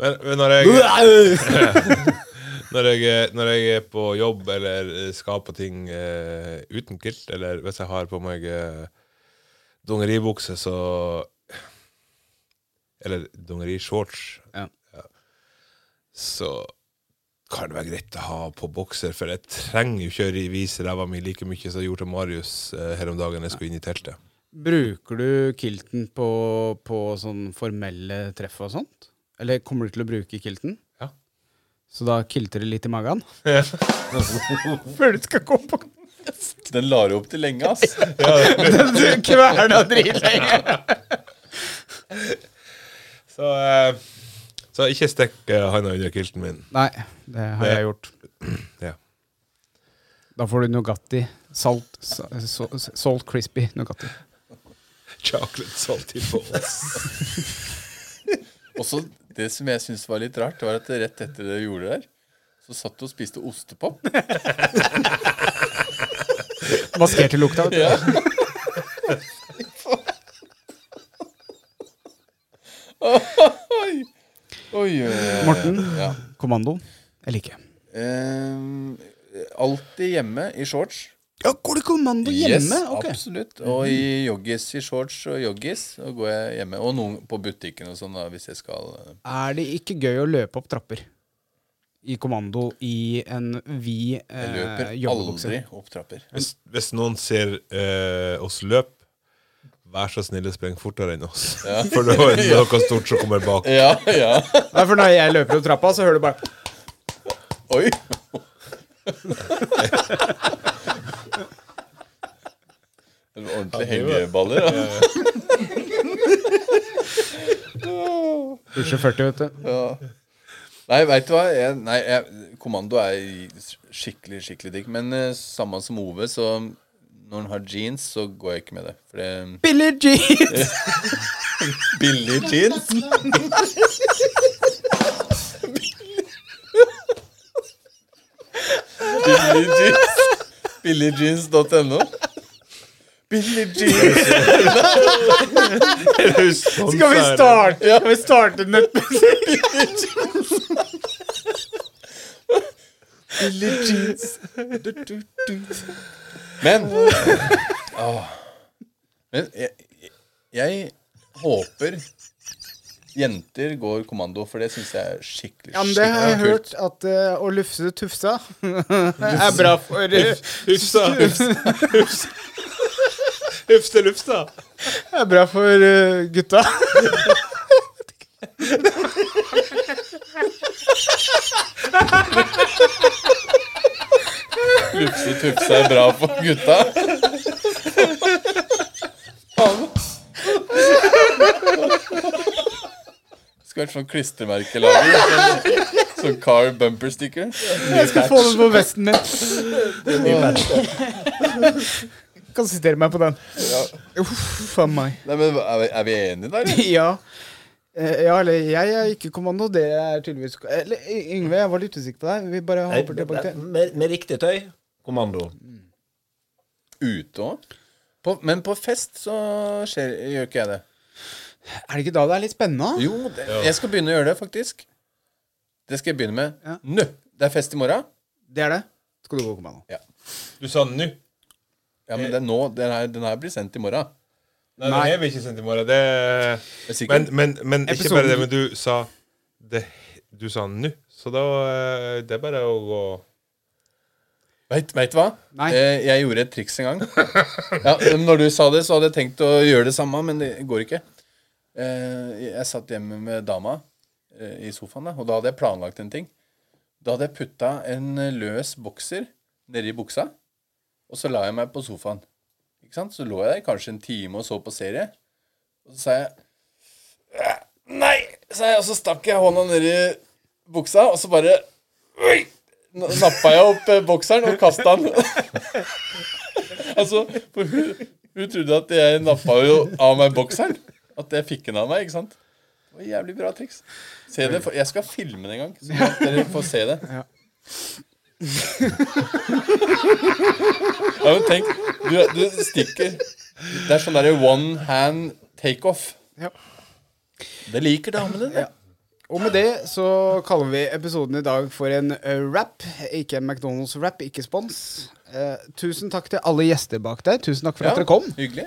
[SPEAKER 3] Men, men når jeg når jeg, når jeg er på jobb eller skal på ting eh, uten kilt, eller hvis jeg har på meg eh, dungeribukse, så Eller dungerishorts,
[SPEAKER 1] Ja.
[SPEAKER 3] så kan det være greit å ha på bokser, for jeg trenger jo ikke å vise ræva mi like mye som jeg gjorde til Marius eh, her om dagen jeg skulle inn i teltet.
[SPEAKER 1] Bruker du kilten på, på sånn formelle treff og sånt? Eller kommer du til å bruke kilten?
[SPEAKER 3] Ja.
[SPEAKER 1] Så da kilter det litt i magen? Før du skal gå på
[SPEAKER 2] Den lar opp til lenge, ass.
[SPEAKER 1] Du kverna dritlenge!
[SPEAKER 3] Så, eh, så ikke stikk eh, handa under kilten min.
[SPEAKER 1] Nei, det har jeg gjort.
[SPEAKER 3] Ja.
[SPEAKER 1] Da får du Nugatti. Salt, sa- so, salt crispy Nugatti.
[SPEAKER 3] Chocolate salty balls.
[SPEAKER 2] Og så det som jeg syntes var litt rart, var at rett etter det du gjorde det der, så satt du og spiste ostepop.
[SPEAKER 1] Maskerte lukta. vet du.
[SPEAKER 2] Oi, oi, oi.
[SPEAKER 1] Morten?
[SPEAKER 2] Ja.
[SPEAKER 1] Kommando eller ikke?
[SPEAKER 2] Ehm, alltid hjemme i shorts.
[SPEAKER 1] Ja, går det kommando hjemme?
[SPEAKER 2] Yes,
[SPEAKER 1] ok.
[SPEAKER 2] absolutt. Og i joggis, i shorts og joggis, så går jeg hjemme. Og noen på butikken og sånn, da, hvis jeg skal eh,
[SPEAKER 1] Er det ikke gøy å løpe opp trapper i kommando i en vid eh,
[SPEAKER 2] Jeg løper
[SPEAKER 1] joggebukse?
[SPEAKER 2] aldri opp trapper.
[SPEAKER 3] Hvis, hvis noen ser eh, oss løpe, vær så snill og spreng fortere enn oss. For det er noe stort som kommer bak.
[SPEAKER 1] Eh,
[SPEAKER 2] Ja, ja.
[SPEAKER 1] Nei, for når jeg løper opp trappa, så hører du bare
[SPEAKER 2] Oi. Det var ordentlig hengeballer. da.
[SPEAKER 1] Pusher 40, vet du.
[SPEAKER 2] Nei, veit du hva? Jeg, nei, jeg, kommando er skikkelig, skikkelig digg. Men eh, samme som Ove, så når han har jeans, så går jeg ikke med det. For det
[SPEAKER 1] Billy jeans!
[SPEAKER 2] Billig jeans? Billig jeans. Billigjeans.no. Billig jeans.
[SPEAKER 3] Sånn
[SPEAKER 1] Skal vi starte, skal vi starte nøttmusikk?
[SPEAKER 2] Billig jeans. Du, du, du. Men eh, Åh. Men jeg, jeg- jeg håper jenter går kommando, for det syns jeg er skikkelig,
[SPEAKER 1] Ja, men
[SPEAKER 2] skikkelig
[SPEAKER 1] det har jeg
[SPEAKER 2] kult.
[SPEAKER 1] hørt at eh, å lufse tufsa er bra for eh,
[SPEAKER 3] Hufsa, hufsa, hufsa. Hufse lufsa.
[SPEAKER 1] er bra for eh, gutta.
[SPEAKER 2] Lufse tufse er bra for gutta. Faen. Skulle vært sånn klistremerkelager. Sånn, sånn car bumper sticker.
[SPEAKER 1] Jeg skal få den på vesten min. Kan sitere meg på den. Uff a meg.
[SPEAKER 2] Nei, men Er vi, er vi enige der? eller?
[SPEAKER 1] Ja. Eh, ja, eller jeg er ikke kommando. Det er tydeligvis Eller Y- Yngve, jeg var litt usikker på deg. Vi bare
[SPEAKER 7] Nei,
[SPEAKER 1] hopper tilbake til
[SPEAKER 7] med, med riktig tøy. Kommando.
[SPEAKER 2] Ute òg? På, men på fest så skjer, gjør ikke jeg det.
[SPEAKER 1] Er det ikke da det er litt spennende?
[SPEAKER 2] Jo, det, jeg skal begynne å gjøre det, faktisk. Det skal jeg begynne med
[SPEAKER 1] Ja.
[SPEAKER 2] nå. Det er fest i morgen.
[SPEAKER 1] Det er det. Skal du gå kommando?
[SPEAKER 3] Du sa nå.
[SPEAKER 2] Ja, men det er nå. Den her, den her blir sendt i morgen.
[SPEAKER 3] Nei, det er vi ikke sendt i morgen. Det er...
[SPEAKER 2] Jeg er sikker.
[SPEAKER 3] Men, men, men ikke
[SPEAKER 1] Episoden-
[SPEAKER 3] bare det, men du sa det, Du sa nå. Så da eh, Det er bare å gå
[SPEAKER 2] Veit veit du hva?
[SPEAKER 1] Nei.
[SPEAKER 2] Eh, jeg gjorde et triks en gang. Ja, men når du sa det, så hadde jeg tenkt å gjøre det samme, men det går ikke. Eh, jeg satt hjemme med dama eh, i sofaen, da, og da hadde jeg planlagt en ting. Da hadde jeg putta en eh, løs bokser nedi buksa, og så la jeg meg på sofaen. Ikke sant? Så lå jeg der kanskje en time og så på serie, og så sa jeg «Æ, Nei! sa jeg, og så stakk jeg hånda nedi buksa, og så bare Oi! N- nappa jeg opp eh, bokseren og kasta den. altså, for hun, hun trodde at jeg nappa jo av meg bokseren. At jeg fikk den av meg, ikke sant? Det var et jævlig bra triks. Se det, for, jeg skal filme det en gang, så at dere får se det.
[SPEAKER 1] Ja.
[SPEAKER 2] Ja, men tenk, du, du stikker Det er sånn derre one hand takeoff.
[SPEAKER 1] Ja.
[SPEAKER 2] Det liker damene. det.
[SPEAKER 1] Og med det så kaller vi episoden i dag for en eh, wrap. Ikke en McDonald's-wrap, ikke spons. Eh, tusen takk til alle gjester bak der. Tusen takk for
[SPEAKER 2] Ja,
[SPEAKER 1] at dere kom.
[SPEAKER 2] Hyggelig.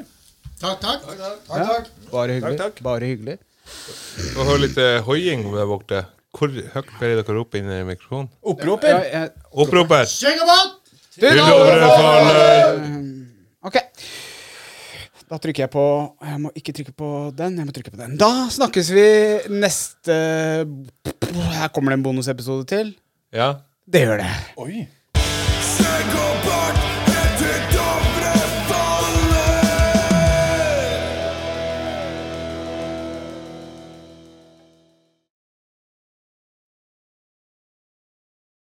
[SPEAKER 4] Takk, takk. takk, takk.
[SPEAKER 1] Bare hyggelig. Bare hyggelig.
[SPEAKER 3] Få høre litt eh, hoiing med borte. Hvor høyt ber dere rope inn i mikrofonen?
[SPEAKER 1] Ja,
[SPEAKER 2] Opproper!
[SPEAKER 1] jeg,
[SPEAKER 3] Opproper!
[SPEAKER 1] du,
[SPEAKER 3] Til
[SPEAKER 1] da-
[SPEAKER 3] overfaller!
[SPEAKER 1] Ok. Da trykker jeg på Jeg må ikke trykke på den, jeg må trykke på den. Da snakkes vi neste Her kommer det en bonusepisode til.
[SPEAKER 3] Ja.
[SPEAKER 1] Det gjør det.
[SPEAKER 2] Oi!
[SPEAKER 8] Psycho